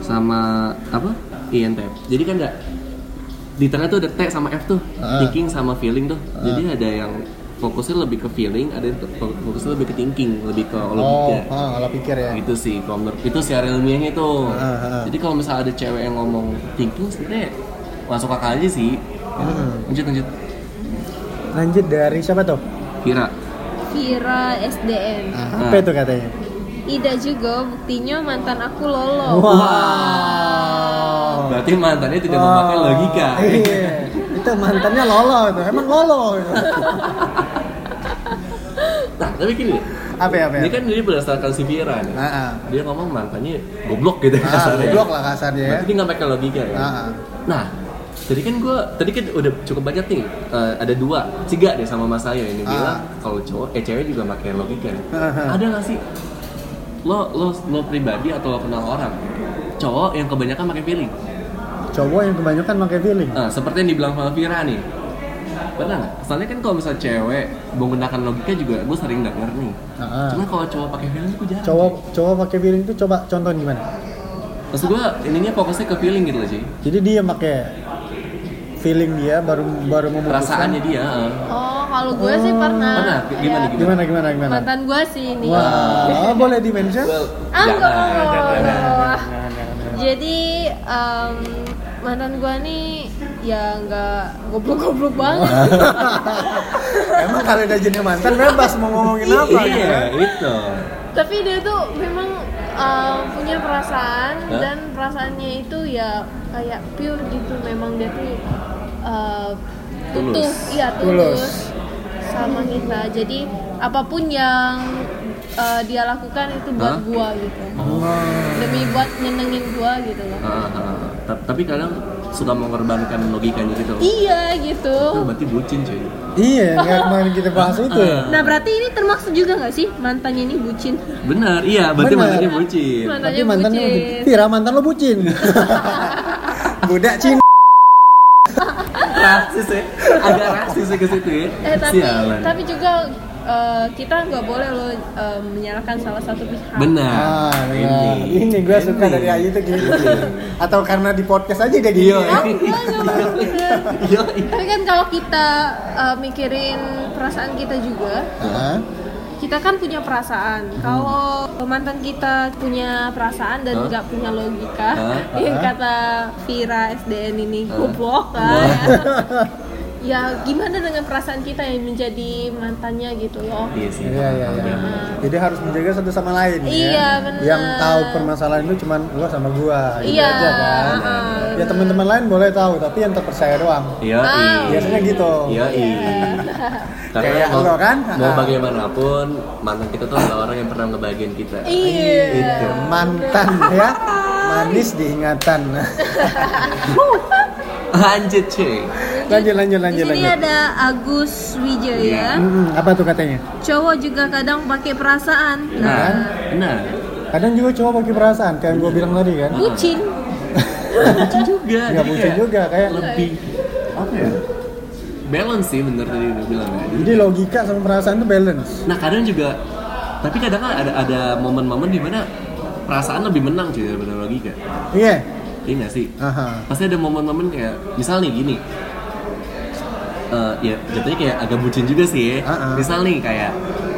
Speaker 1: sama apa? INTP. Jadi kan ada di tengah tuh ada T sama F tuh.
Speaker 2: Ah.
Speaker 1: Thinking sama feeling tuh. Jadi ada yang fokusnya lebih ke feeling, ada yang fo- fokusnya lebih ke thinking, lebih ke
Speaker 2: Oh,
Speaker 1: logika.
Speaker 2: ha, kalau pikir ya.
Speaker 1: Gitu sih, kalau menurut- itu secara ilmiahnya itu.
Speaker 2: Ah, ah.
Speaker 1: Jadi kalau misalnya ada cewek yang ngomong thinking sebenarnya masuk akal aja sih.
Speaker 2: Hmm.
Speaker 1: Lanjut lanjut.
Speaker 2: Lanjut dari siapa tuh?
Speaker 1: Kira.
Speaker 3: Vira SDM.
Speaker 2: Ah,
Speaker 1: Ah.
Speaker 2: apa itu katanya?
Speaker 3: Ida juga buktinya mantan aku lolo.
Speaker 2: Wow.
Speaker 1: Oh. Berarti mantannya tidak
Speaker 2: Wow.
Speaker 1: memakai logika.
Speaker 2: Oh. Iya. Itu mantannya lolo itu. Emang lolo itu.
Speaker 1: Nah, tapi gini,
Speaker 2: Apa ya, apa ya?
Speaker 1: ini kan jadi berdasarkan si Vira nih.
Speaker 2: Ah, ah.
Speaker 1: Dia ngomong mantannya goblok gitu
Speaker 2: Ah,
Speaker 1: kasarnya.
Speaker 2: goblok lah kasarnya ya.
Speaker 1: Berarti dia nggak pakai logika ya.
Speaker 2: Ah, ah.
Speaker 1: Nah, tadi kan gue, tadi kan udah cukup banyak nih, eh, ada dua, tiga deh sama Mas Ayo ini
Speaker 2: Ah.
Speaker 1: bilang kalau cowok, eh cewek juga pakai logika. nih.
Speaker 2: Ah, ah.
Speaker 1: ada nggak sih lo lo lo pribadi atau lo kenal orang cowok yang kebanyakan pakai feeling?
Speaker 2: Cowok yang kebanyakan pakai feeling.
Speaker 1: Nah, seperti yang dibilang sama Vira nih Benar nggak? Soalnya kan kalau misalnya cewek menggunakan logika juga gue sering denger nih
Speaker 2: Ah, ah.
Speaker 1: Cuma kalau cowok pakai feeling gue jarang
Speaker 2: Cowok cowok pakai feeling itu coba contohnya gimana?
Speaker 1: Maksud gue ininya fokusnya ke feeling gitu loh sih
Speaker 2: Jadi dia pakai feeling dia baru baru memutuskan.
Speaker 1: Perasaannya dia eh.
Speaker 3: Oh, kalau gue sih pernah.
Speaker 1: Pernah? Gimana,
Speaker 3: Ya.
Speaker 1: gimana?
Speaker 2: Gimana gimana gimana?
Speaker 3: Mantan gue sih ini.
Speaker 2: Wah, oh, boleh di mention?
Speaker 1: Well,
Speaker 3: Ah, enggak,
Speaker 1: jangan,
Speaker 3: enggak,
Speaker 1: jangan,
Speaker 3: enggak.
Speaker 1: jangan.
Speaker 3: Jadi em, mantan gue nih ya nggak goblok-goblok banget.
Speaker 2: Emang kalau udah jadi mantan bebas mau ngomongin apa gitu
Speaker 1: Iya,
Speaker 2: kan?
Speaker 1: itu
Speaker 3: Tapi dia tuh memang em, punya perasaan
Speaker 1: Hah?
Speaker 3: dan perasaannya itu ya kayak pure gitu. Memang dia tuh em,
Speaker 1: Tulus.
Speaker 3: utuh, iya
Speaker 2: Tulus.
Speaker 3: tulus sama kita. Jadi apapun yang eh, dia lakukan itu buat
Speaker 1: Hah? Oh.
Speaker 3: gua gitu.
Speaker 2: Wah.
Speaker 3: demi buat nyenengin gua gitu loh
Speaker 1: Ah, ah. Ta- Tapi kadang suka mengorbankan logikanya gitu loh.
Speaker 3: Iya
Speaker 1: Itu
Speaker 3: gitu.
Speaker 1: berarti bucin cuy.
Speaker 2: Iya, nggak kemarin kita bahas itu ya.
Speaker 3: Nah berarti ini termasuk juga nggak sih mantannya ini bucin?
Speaker 1: Benar, iya, berarti
Speaker 2: Benar.
Speaker 1: mantannya bucin.
Speaker 3: Mantannya
Speaker 2: Iya, Tapi mantannya
Speaker 3: bucin.
Speaker 2: bucin. Vira, mantan lo bucin. Budak Cina.
Speaker 1: Nah, Rasis ya, agak rasis ya ke situ ya.
Speaker 3: Eh tapi
Speaker 1: Sialan.
Speaker 3: tapi juga eh, kita nggak boleh loh eh, menyalahkan salah satu pihak.
Speaker 1: Benar.
Speaker 2: Ah, benar. Ini gue suka
Speaker 1: Ini.
Speaker 2: dari Ayu tuh gitu. Atau karena di podcast aja dia gitu.
Speaker 1: Iya.
Speaker 3: Ah, enggak, enggak, enggak, bener.
Speaker 1: Iya.
Speaker 3: Tapi kan kalau kita eh, mikirin perasaan kita juga,
Speaker 2: Hah?
Speaker 3: kita kan punya perasaan.
Speaker 1: Hmm.
Speaker 3: Kalau mantan kita punya perasaan dan
Speaker 1: Hah?
Speaker 3: nggak punya logika,
Speaker 1: Hah?
Speaker 3: yang
Speaker 2: Hah?
Speaker 3: kata Vira SDN ini
Speaker 1: Hah?
Speaker 3: goblok kan. ya. ya gimana dengan perasaan kita yang menjadi mantannya gitu loh?
Speaker 1: Iya sih.
Speaker 2: Iya, iya, iya. Jadi harus menjaga satu sama lain. ya.
Speaker 3: Iya, benar.
Speaker 2: Yang tahu permasalahan itu cuman lo sama gua. gitu
Speaker 3: Iya,
Speaker 2: aja kan.
Speaker 3: heeh.
Speaker 2: Ya teman-teman lain boleh tahu, tapi yang terpercaya doang.
Speaker 1: Iya.
Speaker 3: Ah.
Speaker 1: iya.
Speaker 2: Biasanya gitu.
Speaker 1: Iya, iya. Karena
Speaker 2: Kayak
Speaker 1: mau,
Speaker 2: lo kan?
Speaker 1: mau
Speaker 2: Ah.
Speaker 1: bagaimanapun mantan kita tuh adalah orang yang pernah ngebahagiain kita.
Speaker 3: Iya.
Speaker 2: Itu mantan ya. Manis diingatan.
Speaker 1: Lanjut cuy.
Speaker 2: lanjut, lanjut,
Speaker 3: Di
Speaker 2: lanjut,
Speaker 3: sini
Speaker 2: lanjut.
Speaker 3: ada Agus
Speaker 1: Iya.
Speaker 3: Wijaya.
Speaker 2: Hmm, apa tuh katanya?
Speaker 3: Cowok juga kadang pakai perasaan.
Speaker 1: Nah, benar.
Speaker 2: Kadang juga cowok pakai perasaan, kayak gue bilang tadi kan.
Speaker 3: bucin.
Speaker 1: Bucin juga.
Speaker 3: Iya.
Speaker 2: Nggak
Speaker 1: jadi
Speaker 2: bucin
Speaker 1: kayak
Speaker 2: juga, kayak-
Speaker 1: lebih apa ya? Balance sih bener tadi udah bilang ya. Jadi
Speaker 2: Jadi logika sama perasaan itu balance.
Speaker 1: Nah kadang juga, tapi kadang kan ada ada momen-momen dimana perasaan lebih menang cuy daripada logika.
Speaker 2: Iya.
Speaker 1: Iya nggak sih?
Speaker 2: Aha.
Speaker 1: Pasti ada momen-momen kayak, misal nih gini, Eh, ya jatuhnya kayak agak bucin juga sih ya.
Speaker 2: Ah, ah.
Speaker 1: Misal nih kayak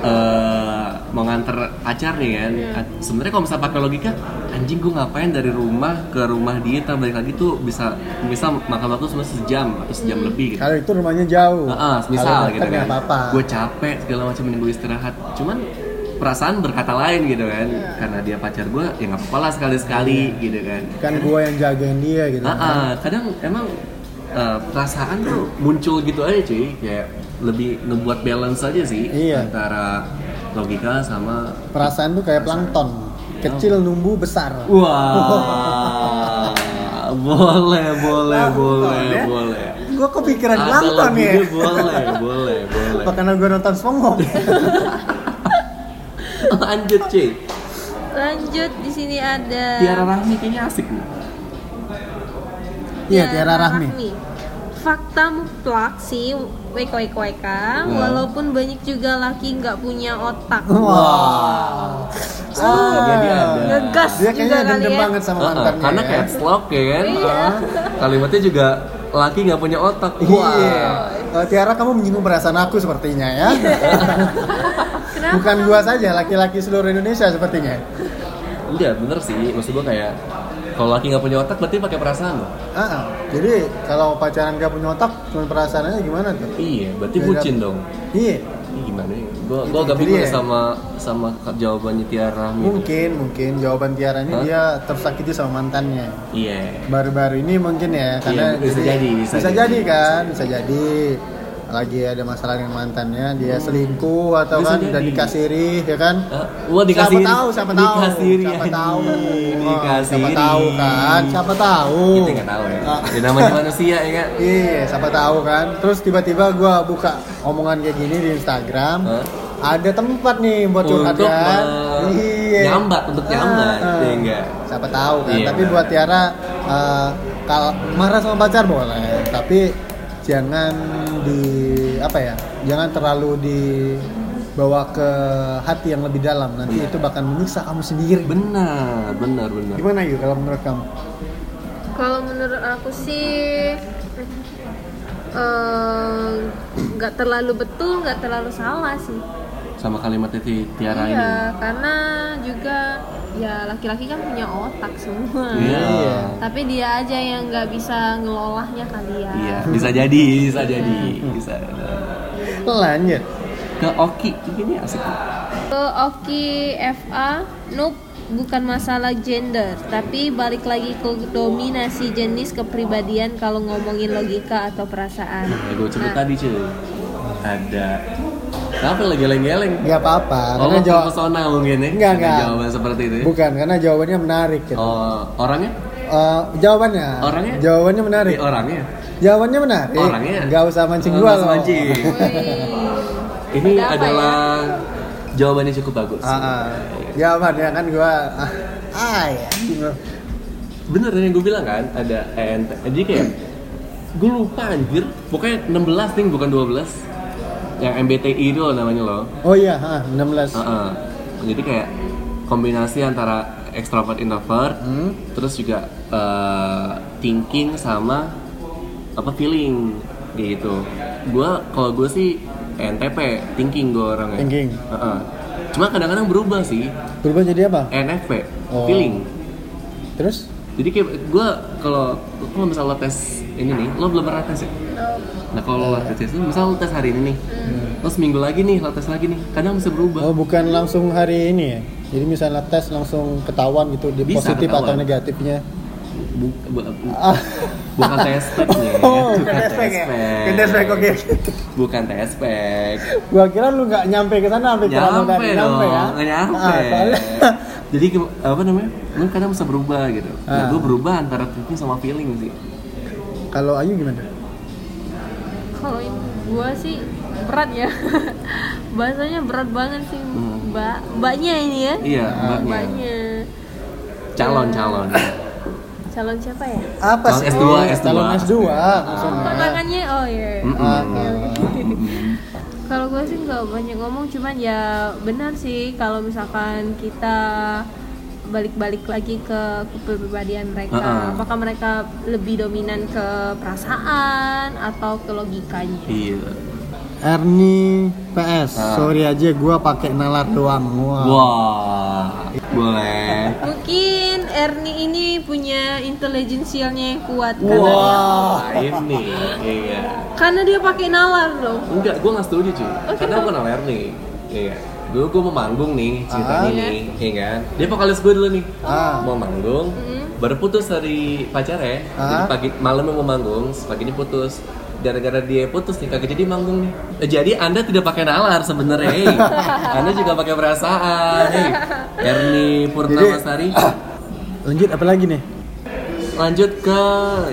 Speaker 1: eh mau nganter pacar nih kan. A- Sebenarnya kalau misal pakai logika, anjing gue ngapain dari rumah ke rumah dia tambah balik lagi tuh bisa bisa makan waktu cuma sejam atau sejam lebih gitu.
Speaker 2: Kalau itu rumahnya jauh.
Speaker 1: Heeh,
Speaker 2: Kalau
Speaker 1: misal
Speaker 2: deket
Speaker 1: gitu kan.
Speaker 2: nggak apa-apa.
Speaker 1: Gue capek segala macam mending gue istirahat. Cuman perasaan berkata lain gitu kan. Karena dia pacar gue ya nggak apa-apa lah sekali-sekali gitu kan.
Speaker 2: Kan gue yang jagain dia gitu.
Speaker 1: Ah, ah, kadang emang eh, perasaan tuh muncul gitu aja cuy kayak lebih ngebuat balance aja sih
Speaker 2: Iya.
Speaker 1: antara logika sama
Speaker 2: Perasaan tuh kayak plankton, kecil numbuh besar.
Speaker 1: wah boleh boleh boleh
Speaker 2: ya?
Speaker 1: boleh
Speaker 2: Gue kepikiran
Speaker 1: Ada
Speaker 2: plankton ya.
Speaker 1: lagunya, boleh boleh boleh
Speaker 2: Apa karena gue nonton SpongeBob?
Speaker 1: lanjut cuy
Speaker 3: Lanjut di sini ada
Speaker 1: Tiara Rahmi kayaknya asik nih
Speaker 2: Iya, Tiara Rahmi.
Speaker 3: Fakta mutlak sih wek wek wek
Speaker 2: Hmm.
Speaker 3: walaupun banyak juga laki nggak punya otak.
Speaker 2: Wah.
Speaker 1: Ah, jadi ada.
Speaker 3: Ngegas
Speaker 2: Dia
Speaker 3: juga
Speaker 2: kayaknya
Speaker 3: kali
Speaker 2: dendam
Speaker 3: ya.
Speaker 2: banget sama
Speaker 1: Ah,
Speaker 2: mantannya.
Speaker 1: karena
Speaker 2: ya.
Speaker 1: kayak slok ya kan
Speaker 3: Iya.
Speaker 1: Ah, kalimatnya juga laki nggak punya otak
Speaker 2: Iya. Eh, Tiara kamu menyinggung perasaan aku sepertinya ya.
Speaker 3: Iya. Kenapa?
Speaker 2: Bukan gua saja, laki-laki seluruh Indonesia sepertinya.
Speaker 1: Enggak, Iya, bener sih. Maksud gua kayak kalau laki nggak punya otak berarti pakai perasaan loh.
Speaker 2: Ah, ah. jadi kalau pacaran gak punya otak, cuma perasaannya gimana tuh?
Speaker 1: Iya, berarti
Speaker 2: Iya,
Speaker 1: bucin
Speaker 2: kan?
Speaker 1: dong.
Speaker 2: Iya,
Speaker 1: Ini gimana ya? Gua
Speaker 2: Itu-
Speaker 1: gua agak
Speaker 2: itu
Speaker 1: bingung
Speaker 2: Gitu dia. Oh.
Speaker 1: sama sama ke- jawabannya Tiara Rahmi.
Speaker 2: mungkin, mungkin jawaban Tiara ini
Speaker 1: Hah?
Speaker 2: dia tersakiti sama mantannya.
Speaker 1: Iya.
Speaker 2: Baru-baru ini mungkin ya,
Speaker 1: Iya,
Speaker 2: karena
Speaker 1: bisa jadi, bisa jadi.
Speaker 2: jadi kan, bisa jadi lagi ada masalah dengan mantannya, dia selingkuh atau
Speaker 1: Hmm. Bisa
Speaker 2: kan dan
Speaker 1: jadi.
Speaker 2: dikasih rih, ya kan?
Speaker 1: Ah, Wah dikasih
Speaker 2: siapa tahu, siapa tahu,
Speaker 1: dikasih
Speaker 2: siapa
Speaker 1: anjing.
Speaker 2: tahu, Oh,
Speaker 1: dikasih
Speaker 2: siapa tahu kan, siapa tahu.
Speaker 1: Kita nggak tahu ya.
Speaker 2: Ah.
Speaker 1: Ya, namanya manusia ya kan.
Speaker 2: Iya, siapa tahu kan. Terus tiba-tiba gua buka omongan kayak gini di Instagram.
Speaker 1: Hah?
Speaker 2: Ada tempat nih buat
Speaker 1: Untuk eh,
Speaker 2: curhat kan.
Speaker 1: me- nyambat, untuk
Speaker 2: Ah,
Speaker 1: nyambat,
Speaker 2: ah.
Speaker 1: ya enggak?
Speaker 2: Siapa tahu kan.
Speaker 1: Iya,
Speaker 2: tapi
Speaker 1: benar.
Speaker 2: buat Tiara eh, kalau marah sama pacar boleh, tapi jangan di apa ya? Jangan terlalu dibawa ke hati yang lebih dalam. Nanti itu bahkan menyiksa kamu sendiri.
Speaker 1: Iya. Benar, benar, benar.
Speaker 2: Gimana yuk kalau menurut kamu?
Speaker 3: Kalau menurut aku sih eh, nggak terlalu betul, nggak terlalu salah sih.
Speaker 1: Sama kalimatnya Ti- Tiara ini.
Speaker 3: Iya, karena juga ya laki-laki kan punya otak semua.
Speaker 1: Iya.
Speaker 2: Iya.
Speaker 3: Tapi dia aja yang nggak bisa ngelolahnya kali ya.
Speaker 1: Iya, bisa jadi, bisa jadi, bisa.
Speaker 2: Lanjut.
Speaker 1: Ke Oki, ini asik. tuh.
Speaker 3: Ke Oki FA, nope, bukan masalah gender, tapi balik lagi ke dominasi jenis kepribadian kalau ngomongin logika atau perasaan.
Speaker 1: Ya, gue cerita tadi cuy ada kenapa lagi geleng-geleng
Speaker 2: Gak apa-apa.
Speaker 1: oh
Speaker 2: karena jawab
Speaker 1: pesona mungkin ya
Speaker 2: Enggak,
Speaker 1: Dengan
Speaker 2: enggak.
Speaker 1: jawaban seperti itu ya?
Speaker 2: Bukan, karena jawabannya menarik gitu.
Speaker 1: oh orangnya
Speaker 2: Eh, jawabannya.
Speaker 1: Orangnya?
Speaker 2: Jawabannya menarik.
Speaker 1: Eh, orangnya.
Speaker 2: Jawabannya menarik.
Speaker 1: Orangnya? Oh,
Speaker 2: Gak Eh, usah mancing
Speaker 1: Nggak
Speaker 2: gua
Speaker 1: usah
Speaker 2: loh.
Speaker 1: mancing.
Speaker 3: Nah, Wih.
Speaker 1: Ini
Speaker 3: Ada apa ya?
Speaker 1: adalah jawabannya cukup bagus.
Speaker 2: Ah, ah. Jawabannya kan gua ah, ah ya.
Speaker 1: Bener yang gue bilang kan ada ENT. Jadi kayak gue lupa anjir. Pokoknya 16 nih bukan 12. Yang MBTI itu loh namanya loh.
Speaker 2: Oh iya, ah, 16.
Speaker 1: Heeh. Jadi kayak kombinasi antara extrovert introvert,
Speaker 2: Hmm.
Speaker 1: terus juga eh, thinking sama apa feeling gitu. Gua kalau gue sih NTP, thinking gue orangnya.
Speaker 2: Thinking.
Speaker 1: Heeh. Cuma kadang-kadang berubah sih,
Speaker 2: Berubah jadi apa?
Speaker 1: NFP,
Speaker 2: Oh.
Speaker 1: feeling.
Speaker 2: Terus?
Speaker 1: Jadi kayak gue kalau kalau misalnya lo tes ini nih, lo belum pernah tes ya? Nah kalau lo tes itu, misal lo tes hari ini nih, terus minggu lagi nih lo tes lagi nih, kadang bisa berubah.
Speaker 2: Oh, bukan langsung hari ini ya. Jadi misalnya tes langsung ketahuan gitu di
Speaker 1: Bisa
Speaker 2: positif atau
Speaker 1: ketahuan.
Speaker 2: negatifnya.
Speaker 1: Bu- bu- bu-
Speaker 2: Ah.
Speaker 1: bukan tespek nih
Speaker 2: Oh, bukan
Speaker 1: bukan
Speaker 2: tespek ya? Bukan tespek, oke.
Speaker 1: bukan tespek
Speaker 2: Gua kira lu nggak nyampe ke sana sampai celana
Speaker 1: nyampe
Speaker 2: tadi.
Speaker 1: dong
Speaker 2: ya.
Speaker 1: nggak nyampe
Speaker 2: Ah, soalnya-
Speaker 1: jadi ke- apa namanya lu kadang bisa berubah gitu nah
Speaker 2: Ah.
Speaker 1: gue berubah antara thinking sama feeling sih
Speaker 2: Kalau Ayu gimana?
Speaker 3: Kalau gue sih berat ya. Bahasanya berat banget sih,
Speaker 1: Hmm.
Speaker 3: Mbak. Mbaknya ini ya.
Speaker 1: iya
Speaker 2: Ah,
Speaker 1: mbaknya
Speaker 3: Mbaknya.
Speaker 1: calon calon
Speaker 3: Calon siapa ya?
Speaker 2: Apa
Speaker 1: Calon
Speaker 2: sih? Oh,
Speaker 1: S2, S2.
Speaker 2: Calon S2 maksudnya.
Speaker 3: Tantangannya oh iya.
Speaker 1: Mm-mm.
Speaker 2: Ah,
Speaker 3: Kalau gue sih nggak banyak ngomong, cuman ya benar sih kalau misalkan kita balik-balik lagi ke kepribadian mereka,
Speaker 1: Uh-uh.
Speaker 3: apakah mereka lebih dominan ke perasaan atau ke logikanya?
Speaker 1: iya
Speaker 2: Erni PS,
Speaker 1: Ah.
Speaker 2: sorry aja gua pakai nalar doang. Wah.
Speaker 1: wah boleh
Speaker 3: Mungkin Ernie ini punya intelligensialnya yang kuat karena dia,
Speaker 1: wah Nah, ini iya
Speaker 3: karena dia pakai nalar loh.
Speaker 1: Enggak, gue gak setuju cuy
Speaker 3: Oh,
Speaker 1: Karena
Speaker 3: kenapa?
Speaker 1: bukan aware nih Iya Gue gue mau manggung nih ceritanya
Speaker 2: Ah.
Speaker 1: nih Iya kan Dia vokalis gue dulu nih
Speaker 2: Ah.
Speaker 1: Mau manggung
Speaker 3: Mm.
Speaker 1: Baru putus dari pacarnya Jadi
Speaker 2: Ah.
Speaker 1: pagi malamnya mau manggung Paginya putus gara-gara dia putus nih kagak jadi manggung nih. Eh, Jadi Anda tidak pakai nalar sebenarnya. hey. anda juga pakai perasaan. Hey. Erni Purnamasari.
Speaker 2: Lanjut apa lagi nih?
Speaker 1: Lanjut ke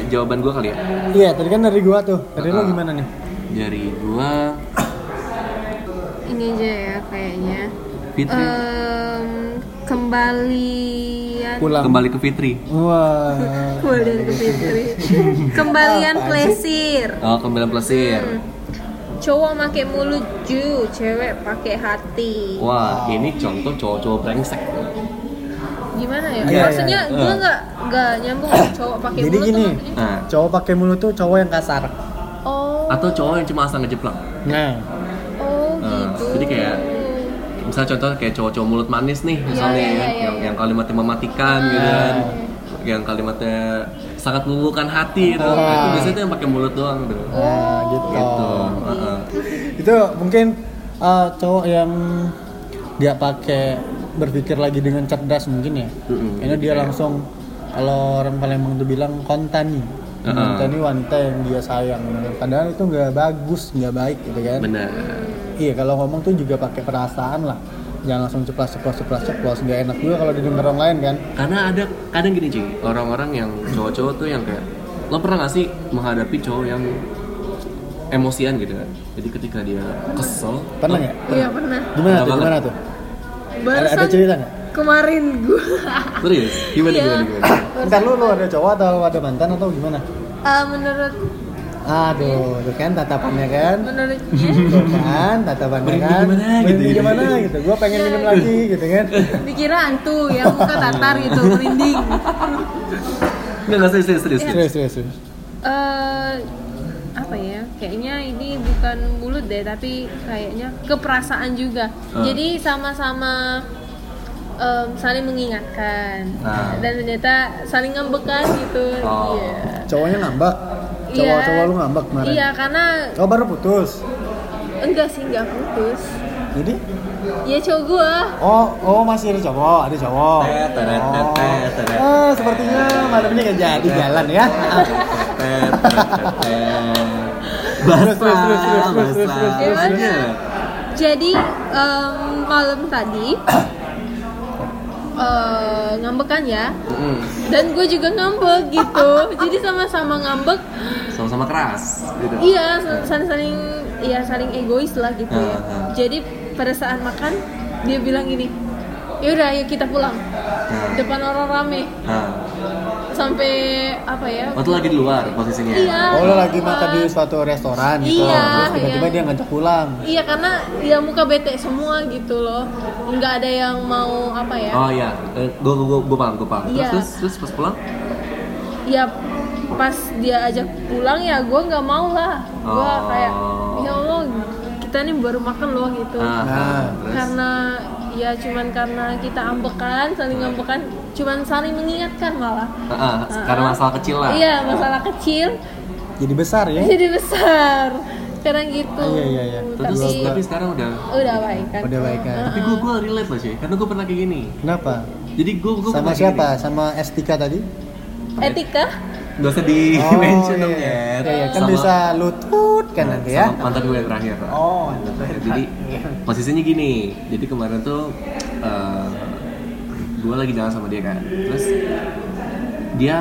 Speaker 1: jawaban gue kali ya.
Speaker 2: Iya, tadi kan dari gua tuh. Dari
Speaker 1: Ah.
Speaker 2: lu gimana nih?
Speaker 1: Dari gua
Speaker 3: Ini aja ya kayaknya.
Speaker 1: Fitri
Speaker 3: Eh. kembalian
Speaker 2: Pulang.
Speaker 1: kembali ke Fitri.
Speaker 2: Wah.
Speaker 3: Kembalian ke Fitri. Kembalian plesir.
Speaker 1: Oh, kembali plesir.
Speaker 3: Cowok pakai mulut ju, cewek pakai hati.
Speaker 1: Wah, ini contoh cowok-cowok brengsek.
Speaker 3: Gimana ya?
Speaker 2: Iya,
Speaker 3: maksudnya
Speaker 1: iya.
Speaker 3: gue nggak nggak nyambung cowok pakai
Speaker 2: Jadi
Speaker 3: mulut tuh
Speaker 2: gini.
Speaker 3: maksudnya-
Speaker 1: Nah,
Speaker 2: Cowok pakai mulut tuh cowok yang kasar.
Speaker 3: Oh.
Speaker 1: atau cowok yang cuma asal ngejeplak.
Speaker 2: Nah,
Speaker 3: Oh
Speaker 1: Nah,
Speaker 3: gitu.
Speaker 1: jadi kayak- Misalnya contoh kayak cowok-cowok mulut manis nih, misalnya ya,
Speaker 3: iya, iya,
Speaker 1: yang,
Speaker 3: iya. Ah.
Speaker 1: yang kalimatnya mematikan gitu kan. Yang kalimatnya sangat melulukan hati gitu.
Speaker 2: Wah.
Speaker 3: Iya.
Speaker 1: Itu biasanya tuh yang pakai mulut doang tuh.
Speaker 2: nah gitu.
Speaker 1: Gitu.
Speaker 3: Oh.
Speaker 1: heeh.
Speaker 2: Itu mungkin eh, cowok yang nggak pakai berpikir lagi dengan cerdas mungkin ya.
Speaker 1: Mm-mm.
Speaker 2: Karena dia langsung kalau orang Palembang tuh bilang kontani.
Speaker 1: Ah.
Speaker 2: Kontani wanita yang dia sayang. Padahal itu nggak bagus, nggak baik gitu kan.
Speaker 1: Benar.
Speaker 2: Iya kalau ngomong tuh juga pakai perasaan lah. Jangan langsung ceplas ceplos ceplos ceplos nggak enak juga kalau didengar orang lain kan.
Speaker 1: Karena ada kadang gini cuy, orang-orang yang cowok-cowok tuh yang kayak lo pernah gak sih menghadapi cowok yang emosian gitu kan? Jadi ketika dia kesel,
Speaker 2: Pernah nggak?
Speaker 3: Iya pernah.
Speaker 1: Pernah
Speaker 2: Gimana tuh?
Speaker 1: banget.
Speaker 2: Gimana tuh? Ada,
Speaker 3: Barusan
Speaker 2: ada cerita nggak?
Speaker 3: kemarin gue.
Speaker 1: serius? Gimana
Speaker 3: Iya.
Speaker 1: gimana gimana?
Speaker 2: Ntar lu lu ada cowok atau ada mantan atau gimana?
Speaker 3: Eh, menurut
Speaker 2: Aduh, tuh kan tatapannya kan.
Speaker 3: menurutnya
Speaker 2: Tuh kan, tatapannya
Speaker 1: Merinding
Speaker 2: kan.
Speaker 1: gimana gitu,
Speaker 2: Merinding
Speaker 1: gitu.
Speaker 2: gimana gitu. Gua pengen minum
Speaker 3: Iya.
Speaker 2: lagi gitu kan.
Speaker 3: dikira hantu yang muka tatar gitu merinding.
Speaker 1: Enggak, enggak
Speaker 3: Iya.
Speaker 1: serius, serius, serius.
Speaker 2: Serius, serius, serius.
Speaker 3: eh apa ya kayaknya ini bukan mulut deh tapi kayaknya keperasaan juga
Speaker 1: Ah.
Speaker 3: jadi sama-sama em, saling mengingatkan
Speaker 1: Ah.
Speaker 3: dan ternyata saling ngembekan gitu
Speaker 1: Oh.
Speaker 3: iya
Speaker 2: Cowoknya ngambak. Cowok-cowok
Speaker 3: Iya.
Speaker 2: lu ngambak kemarin.
Speaker 3: iya karena
Speaker 2: Oh baru putus.
Speaker 3: enggak sih enggak putus
Speaker 2: Jadi,
Speaker 3: ya cowok gua
Speaker 2: oh oh masih ada cowok, ada cowok.
Speaker 1: Tet, tet, tet, tet, tet.
Speaker 2: Oh, sepertinya malamnya nggak jadi jalan ya. Terus, terus, terus, terus, terus, terus, terus,
Speaker 1: Basah,
Speaker 3: terus.
Speaker 1: basahnya.
Speaker 3: jadi em, malam tadi eh, ngambek kan ya
Speaker 1: Mm-mm.
Speaker 3: dan gue juga ngambek gitu jadi sama-sama ngambek
Speaker 1: sama-sama keras gitu
Speaker 3: iya saling saling iya saling egois lah gitu ya
Speaker 1: Ah, ah.
Speaker 3: jadi pada saat makan dia bilang gini yaudah ayo kita pulang
Speaker 1: nah,
Speaker 3: depan orang rame
Speaker 1: nah.
Speaker 3: sampai apa ya
Speaker 1: waktu lagi di luar posisinya
Speaker 3: Iya.
Speaker 2: Oh, lo lagi makan di suatu restoran gitu.
Speaker 3: Iya,
Speaker 2: Terus tiba-tiba
Speaker 3: iya.
Speaker 2: dia ngajak pulang.
Speaker 3: iya karena ya muka bete semua gitu loh nggak ada yang mau apa ya
Speaker 1: oh iya Eh, gua gua gua, gua paham gua paham terus,
Speaker 3: Iya.
Speaker 1: terus terus pas pulang
Speaker 3: ya pas dia ajak pulang ya gue nggak mau lah gue
Speaker 1: Oh.
Speaker 3: kayak ya allah kita nih baru makan loh gitu
Speaker 1: Ah,
Speaker 2: Nah.
Speaker 1: terus
Speaker 3: karena ya cuman karena kita ambekan saling ambekan cuman saling mengingatkan malah
Speaker 1: Ah, ah, karena masalah kecil lah
Speaker 3: iya masalah kecil
Speaker 2: Jadi besar ya.
Speaker 3: jadi besar sekarang gitu
Speaker 2: Ah, iya, iya, iya.
Speaker 1: terus
Speaker 3: tapi
Speaker 1: tapi, sekarang udah
Speaker 3: udah baik kan
Speaker 2: Udah baik kan.
Speaker 1: tapi gua gua relate loh cuy karena gua pernah kayak gini
Speaker 2: Kenapa?
Speaker 1: jadi gua gua
Speaker 2: Sama
Speaker 1: pernah kayak
Speaker 2: siapa? Sama S3 tadi?
Speaker 3: Eh, etika
Speaker 1: gini. Gak usah di mention dong
Speaker 2: iya.
Speaker 1: ya
Speaker 2: Iya, iya. Kan bisa lutut kan nanti ya.
Speaker 1: sama mantan gue yang terakhir Pak.
Speaker 2: Oh,
Speaker 1: Mantan terakhir. jadi posisinya gini jadi kemarin tuh eh, gue lagi jalan sama dia kan terus dia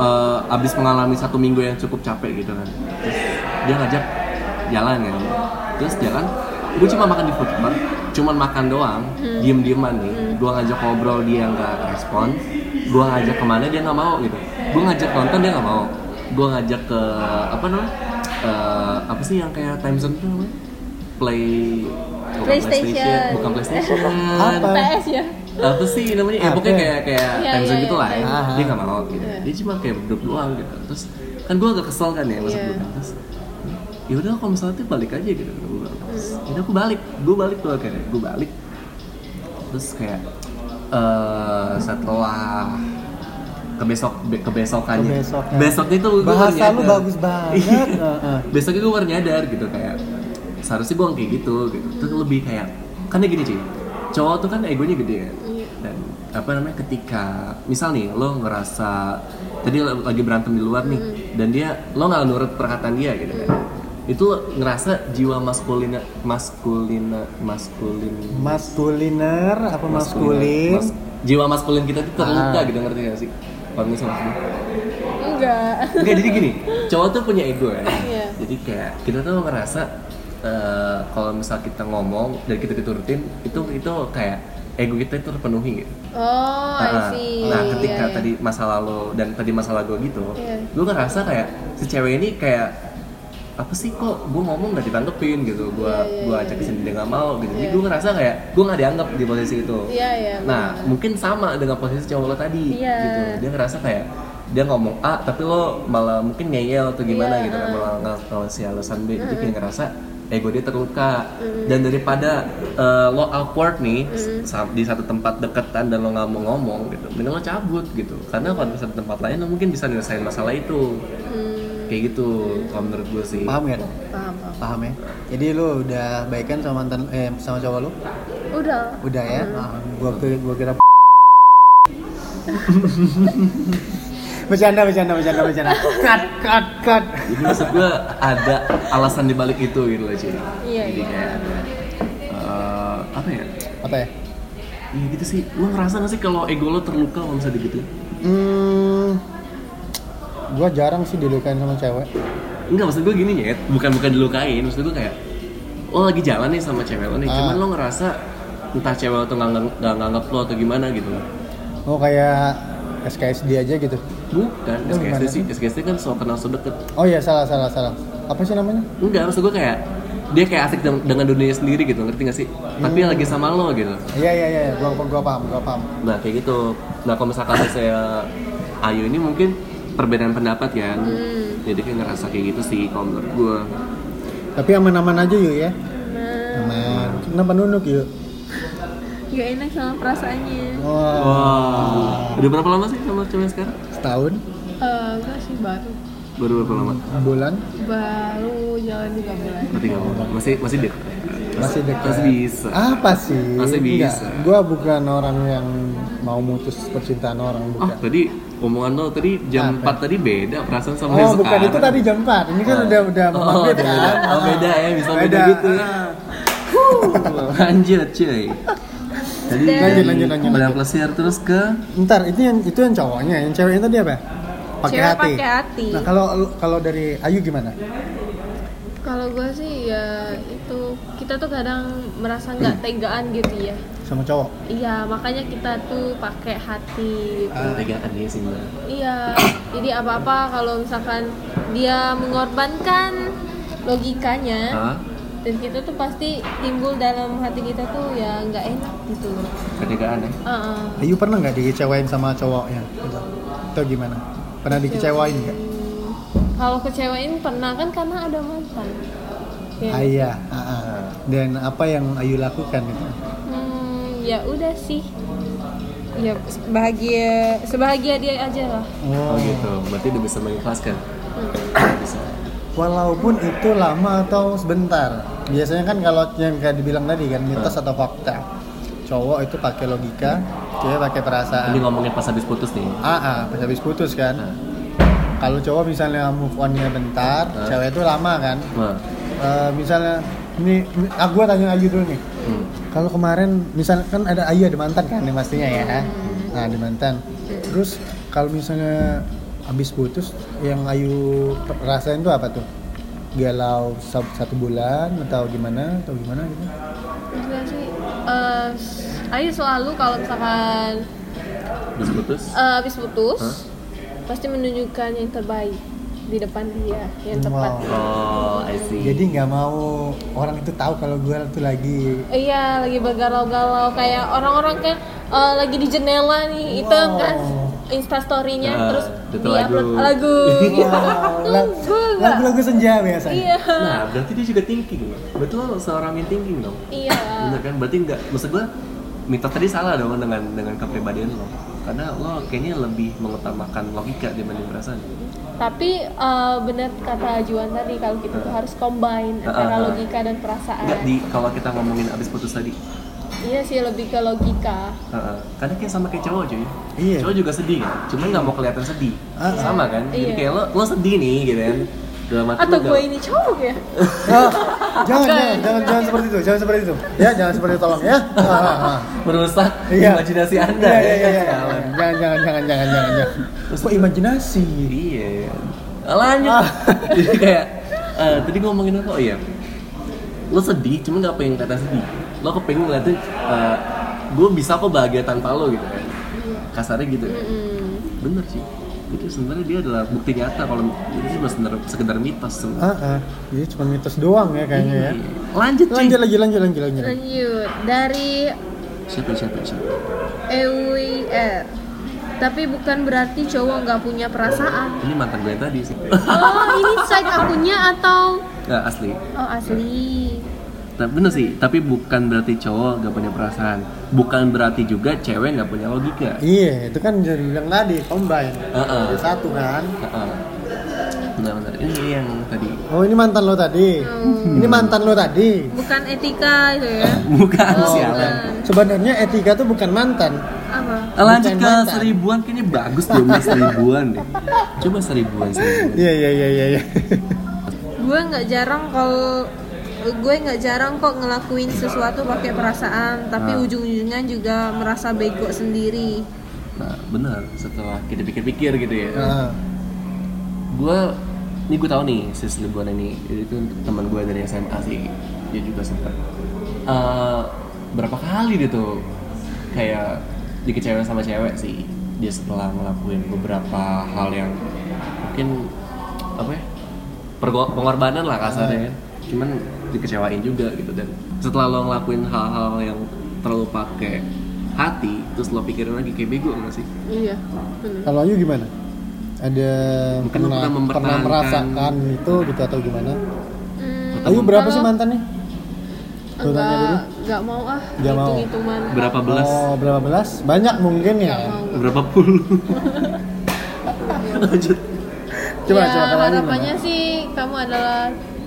Speaker 1: eh, abis mengalami satu minggu yang cukup capek gitu kan terus dia ngajak jalan kan terus jalan gue cuma makan di food court cuman makan doang diem dieman nih gue ngajak ngobrol dia nggak respon gue ngajak kemana dia nggak mau gitu gue ngajak nonton dia nggak mau gue ngajak ke apa namanya Eh, apa sih yang kayak time zone tuh namanya play bukan
Speaker 3: PlayStation.
Speaker 1: bukan PlayStation
Speaker 2: Apa?
Speaker 3: PS ya
Speaker 1: apa sih namanya ya
Speaker 2: Apa?
Speaker 1: pokoknya kayak kayak
Speaker 3: Iya,
Speaker 1: time zone
Speaker 3: iya,
Speaker 1: gitu lah
Speaker 3: iya,
Speaker 1: ya
Speaker 2: iya.
Speaker 1: dia nggak mau gitu dia cuma kayak duduk doang gitu terus kan gue agak kesel kan ya masuk
Speaker 3: Iya.
Speaker 1: dulu terus ya udah kalau misalnya tuh balik aja gitu kata gua. terus
Speaker 3: Hmm.
Speaker 1: yaudah aku balik gue balik tuh akhirnya gue balik terus kayak eh setelah kebesok be- kebesokannya
Speaker 2: Kebesokannya.
Speaker 1: besoknya tuh gua baru
Speaker 2: Bahasa lu
Speaker 1: nyadar.
Speaker 2: bagus banget.
Speaker 1: Iya.
Speaker 2: Heeh.
Speaker 1: besoknya gue baru nyadar gitu kayak seharusnya gue kayak gitu gitu terus lebih kayak kan ya gini cuy cowok tuh kan egonya gede kan dan apa namanya ketika misal nih lo ngerasa tadi lo lagi berantem di luar nih dan dia lo nggak nurut perkataan dia gitu kan itu lo ngerasa jiwa maskulina maskulina maskulin
Speaker 2: Maskuliner apa maskulin?
Speaker 1: mas- jiwa maskulin kita tuh terluka
Speaker 2: Ah.
Speaker 1: gitu ngerti gak sih? Paham gak sih maksudnya?
Speaker 3: enggak
Speaker 1: Enggak jadi gini, cowok tuh punya ego ya.
Speaker 3: Iya.
Speaker 1: Jadi kayak kita tuh ngerasa eh, kalau misal kita ngomong dan kita diturutin itu itu kayak ego kita itu terpenuhi gitu.
Speaker 3: oh
Speaker 1: Nah,
Speaker 2: Ah,
Speaker 3: I see
Speaker 1: Nah,
Speaker 3: Iya,
Speaker 1: ketika
Speaker 3: iya.
Speaker 1: tadi masalah lo dan tadi masalah gue gitu,
Speaker 3: Iya.
Speaker 1: gue ngerasa kayak si cewek ini kayak apa sih kok gue ngomong gak ditanggepin gitu, gue
Speaker 3: Iya,
Speaker 1: gue ajak kesini dia nggak mau gitu, jadi gue ngerasa kayak gue nggak dianggap di posisi itu.
Speaker 3: Iya, iya,
Speaker 1: Nah, mungkin sama dengan posisi cowok lo tadi
Speaker 3: Iya.
Speaker 1: gitu, dia ngerasa kayak dia ngomong A tapi lo malah mungkin ngeyel atau
Speaker 3: Iya.
Speaker 1: gimana gitu kan malah nggak kalau si alasan B jadi kayak ngerasa ego dia terluka dan daripada eh, lo awkward nih sa- di satu tempat deketan dan lo nggak mau ngomong gitu mending lo cabut gitu karena kalau di satu tempat lain lo mungkin bisa nyelesain masalah itu kayak gitu kalau menurut gue sih
Speaker 2: Paham ya?
Speaker 3: Hmm, paham paham
Speaker 2: Paham ya. Jadi lu udah baikan sama mantan eh sama cowok lu?
Speaker 3: udah
Speaker 2: Udah ya. Ah, gua kira gua kira Bercanda, bercanda, bercanda, bercanda. Cut, cut, cut.
Speaker 1: jadi maksud gue ada alasan dibalik itu gitu loh cuy
Speaker 3: Iya,
Speaker 1: jadi
Speaker 3: iya.
Speaker 1: kayak eh, apa ya
Speaker 2: Apa ya?
Speaker 1: ya gitu sih lo ngerasa gak sih kalau ego lo terluka kalau misalnya gitu
Speaker 2: Hmm, gua jarang sih dilukain sama cewek.
Speaker 1: Enggak maksud gue gini ya, bukan bukan dilukain, maksud gue kayak lo lagi jalan nih sama cewek lo nih,
Speaker 2: Ah.
Speaker 1: cuman lo ngerasa entah cewek lo tuh nggak ngang- nggak nganggap lo atau gimana gitu.
Speaker 2: Oh kayak SKSD aja gitu.
Speaker 1: Bukan,
Speaker 2: Lo
Speaker 1: SKSD
Speaker 2: gimana
Speaker 1: sih, SKSD kan so kenal so deket.
Speaker 2: Oh iya salah salah salah. Apa sih namanya?
Speaker 1: Enggak, maksud gue kayak dia kayak asik dengan, dengan dunianya sendiri gitu, ngerti gak sih? Tapi
Speaker 2: Hmm.
Speaker 1: lagi sama lo gitu.
Speaker 2: Iya iya iya, gua gua, gua paham, gua paham.
Speaker 1: Nah kayak gitu. Nah kalau misalkan saya Ayu ini mungkin perbedaan pendapat kan. Jadi kayak ngerasa kayak gitu sih kalau menurut gue.
Speaker 2: Tapi aman-aman aja yuk ya.
Speaker 3: nah
Speaker 2: Aman. Kenapa nunuk yuk?
Speaker 3: nggak enak sama perasaannya
Speaker 2: Wah,
Speaker 1: Wah, udah berapa lama sih sama cewek sekarang?
Speaker 2: setahun,
Speaker 3: Eh, enggak sih baru
Speaker 1: Baru berapa lama?
Speaker 2: bulan,
Speaker 3: baru jalan tiga bulan
Speaker 1: Berarti nggak apa-apa. Masih masih dek.
Speaker 2: masih Ah,
Speaker 1: Masih
Speaker 2: dekat.
Speaker 1: bisa.
Speaker 2: Apa sih?
Speaker 1: Masih
Speaker 2: Enggak,
Speaker 1: bisa.
Speaker 2: Gua bukan orang yang mau mutus percintaan orang
Speaker 1: Oh,
Speaker 2: bukan.
Speaker 1: tadi omongan lo tadi jam
Speaker 2: Apa?
Speaker 1: 4 tadi beda perasaan
Speaker 2: Oh,
Speaker 1: sama yang
Speaker 2: bukan
Speaker 1: sekarang.
Speaker 2: itu tadi jam 4. Ini kan
Speaker 1: Oh.
Speaker 2: udah udah
Speaker 1: Oh, beda.
Speaker 2: maghrib
Speaker 1: gitu
Speaker 2: kan?
Speaker 1: ya. Oh, beda ya, bisa beda gitu ya.
Speaker 2: ah.
Speaker 1: Lanjut, cuy. Jadi
Speaker 4: Dan-
Speaker 1: dari
Speaker 2: Lanjut, lanjut, lanjut,
Speaker 1: Padang Plesir terus ke
Speaker 2: Ntar itu yang itu yang cowoknya, yang ceweknya tadi apa? Pakai
Speaker 4: Cewek
Speaker 2: hati.
Speaker 4: pakai hati.
Speaker 2: Nah kalau kalau dari Ayu gimana?
Speaker 3: Kalau gue sih ya itu kita tuh kadang merasa nggak tegaan gitu ya.
Speaker 2: Sama cowok?
Speaker 3: Iya makanya kita tuh pakai hati.
Speaker 2: Ah.
Speaker 3: gitu.
Speaker 1: kegiatan dia ya, sih Mbak.
Speaker 3: Iya. Jadi apa-apa kalau misalkan dia mengorbankan logikanya
Speaker 1: Hah?
Speaker 3: dan kita tuh pasti timbul dalam hati kita tuh ya nggak enak gitu loh.
Speaker 1: Kedekaan ya.
Speaker 3: Heeh.
Speaker 2: Ayu pernah nggak dikecewain sama cowoknya? Atau gimana? Pernah dikecewain nggak?
Speaker 3: Hmm, Kalau kecewain pernah kan karena ada mantan. Ya.
Speaker 2: Ah, iya. Ah, ah. Dan apa yang Ayu lakukan gitu? itu?
Speaker 3: Hmm, ya udah sih. Ya bahagia sebahagia dia aja lah.
Speaker 1: Oh gitu. Berarti udah bisa kan? mengikhlaskan. bisa.
Speaker 2: Walaupun itu lama atau sebentar. Biasanya kan kalau yang kayak dibilang tadi kan mitos atau fakta. Cowok itu pakai logika, cewek pakai perasaan.
Speaker 1: Ini ngomongin pas habis putus nih.
Speaker 2: AA pas habis putus kan.
Speaker 1: Nah,
Speaker 2: Kalau cowok misalnya move onnya bentar,
Speaker 1: Hah?
Speaker 2: cewek itu lama kan.
Speaker 1: nah.
Speaker 2: Eh, misalnya ini aku tanya Ayu dulu nih.
Speaker 1: Hmm.
Speaker 2: Kalau kemarin misalnya kan ada Ayu ada mantan kan nih pastinya ya.
Speaker 1: Hmm.
Speaker 2: Nah, ada mantan. Terus kalau misalnya habis putus yang Ayu per- rasain tuh apa tuh? Galau sa- satu bulan atau gimana atau gimana gitu?
Speaker 3: Maksudnya Iya sih, eh, s- Ayu selalu kalau misalkan
Speaker 1: Habis putus.
Speaker 2: Ah.
Speaker 3: eh, habis putus
Speaker 1: Hah?
Speaker 3: pasti menunjukkan yang terbaik di depan dia yang tepat.
Speaker 2: Wow.
Speaker 1: Oh, I see.
Speaker 2: Jadi nggak mau orang itu tahu kalau gue tuh lagi
Speaker 3: Iya lagi bergalau-galau kayak orang-orang kan eh, lagi di jendela nih itu
Speaker 2: Wow.
Speaker 3: kan instastorynya
Speaker 1: Nah,
Speaker 3: terus
Speaker 1: itu
Speaker 3: di upload
Speaker 1: lagu.
Speaker 3: lagu gitu.
Speaker 2: Wow, la-
Speaker 3: Tunggu nggak?
Speaker 2: Iya. lagu-lagu senja biasanya.
Speaker 3: Iya.
Speaker 1: Nah, berarti dia juga thinking. Betul seorang yang thinking dong.
Speaker 3: Iya.
Speaker 1: Bener kan? Berarti nggak, maksud gua Mita tadi salah dong dengan dengan kepribadian lo. Karena lo kayaknya lebih mengutamakan logika dibanding perasaan.
Speaker 3: Tapi eh, benar kata Juan tadi kalau kita tuh harus combine
Speaker 1: Ah,
Speaker 3: antara
Speaker 1: ah, ah.
Speaker 3: logika dan perasaan.
Speaker 1: Nggak di kalau kita ngomongin abis putus tadi.
Speaker 3: Iya sih lebih ke logika.
Speaker 1: Heeh. Karena kayak sama kayak cowok cuy.
Speaker 2: Iya.
Speaker 1: Cowok juga sedih kan. Cuman nggak mau kelihatan sedih.
Speaker 2: Ah, ah.
Speaker 1: Sama kan? Jadi
Speaker 3: Iya.
Speaker 1: kayak lo lo sedih nih gitu kan. Dalam hati lo
Speaker 3: Atau gue
Speaker 1: nggak-
Speaker 3: ini cowok ya?
Speaker 2: Ah, jangan, jangan, jangan, jangan seperti itu, jangan seperti itu. Ya, jangan seperti itu tolong ya. Ah, ah, ah.
Speaker 1: merusak imajinasi Anda
Speaker 2: Iya,
Speaker 1: ya.
Speaker 2: iya, iya, iya.
Speaker 1: Sialan.
Speaker 2: Jangan, jangan, jangan, jangan, jangan, jangan. Kok imajinasi?
Speaker 1: Iya. Lanjut.
Speaker 2: Ah.
Speaker 1: Jadi kayak eh, tadi gua ngomongin apa? Oh iya. Lo sedih, cuman gak pengen kata sedih. Lo kepengen ngeliatin eh, gue bisa kok bahagia tanpa lo gitu kan. Kasarnya gitu ya. Bener sih. Itu sebenarnya dia adalah bukti nyata kalau itu cuma sekedar, sekedar mitos sebenarnya.
Speaker 2: Ah, ah. Jadi cuma mitos doang ya kayaknya ya.
Speaker 1: Iya. Lanjut cuy.
Speaker 2: Lanjut, lanjut, lanjut, lanjut, lanjut.
Speaker 3: Lanjut dari
Speaker 1: Siapa siapa siapa?
Speaker 3: EWR. Tapi bukan berarti cowok nggak punya perasaan.
Speaker 1: Ini mantan gue yang tadi sih.
Speaker 3: Oh ini side akunnya atau
Speaker 1: Nggak asli.
Speaker 3: oh asli?
Speaker 1: Nah, bener sih, tapi bukan berarti cowok gak punya perasaan. Bukan berarti juga cewek gak punya logika.
Speaker 2: Iya, itu kan jadi bilang tadi, combine.
Speaker 1: Heeh.
Speaker 2: Jadi Satu kan.
Speaker 1: Heeh. Benar-benar ini yang tadi
Speaker 2: Oh, ini mantan lo tadi. Ini mantan lo tadi.
Speaker 3: Bukan etika itu ya?
Speaker 1: bukan
Speaker 2: Oh,
Speaker 1: sialan.
Speaker 2: Sebenarnya etika tuh bukan mantan.
Speaker 3: Apa?
Speaker 1: Nah, Lanjut
Speaker 2: Bukan
Speaker 1: ke
Speaker 2: mantan.
Speaker 1: seribuan kayaknya bagus deh Mas, seribuan deh. Coba seribuan seribuan.
Speaker 2: Iya, iya, iya, iya, iya.
Speaker 3: gue nggak jarang kalau gue nggak jarang kok ngelakuin sesuatu pakai perasaan tapi
Speaker 1: Ah.
Speaker 3: ujung-ujungnya juga merasa bego sendiri
Speaker 1: Nah, benar setelah kita pikir-pikir gitu ya.
Speaker 2: Ah.
Speaker 1: Gua ini gue tahu nih si seribuan ini itu teman gue dari SMA sih. Dia juga sempat eh berapa kali dia tuh kayak dikecewain sama cewek sih. Dia setelah ngelakuin beberapa hal yang mungkin apa ya pergo- pengorbanan lah kasarnya kan cuman dikecewain juga gitu dan setelah lo ngelakuin hal-hal yang terlalu pakai hati terus lo pikirin lagi kayak bego nggak sih
Speaker 3: iya
Speaker 2: Kalau Ayu gimana? Ada
Speaker 1: Mungkin
Speaker 2: pernah,
Speaker 1: pernah
Speaker 2: pernah,
Speaker 1: mempertahankan.
Speaker 2: merasakan itu gitu atau gimana?
Speaker 1: Atau
Speaker 2: Ayu berapa
Speaker 3: Hmm, kalau-
Speaker 2: sih mantannya? Gua tanya dulu.
Speaker 3: nggak nggak mau ah
Speaker 2: Nggak mau.
Speaker 3: hitung-hitungan
Speaker 1: berapa belas
Speaker 2: Oh, berapa belas? Banyak mungkin ya.
Speaker 1: berapa puluh lanjut
Speaker 2: Coba
Speaker 3: ya,
Speaker 2: coba kalau Ayu
Speaker 3: harapannya sih kamu adalah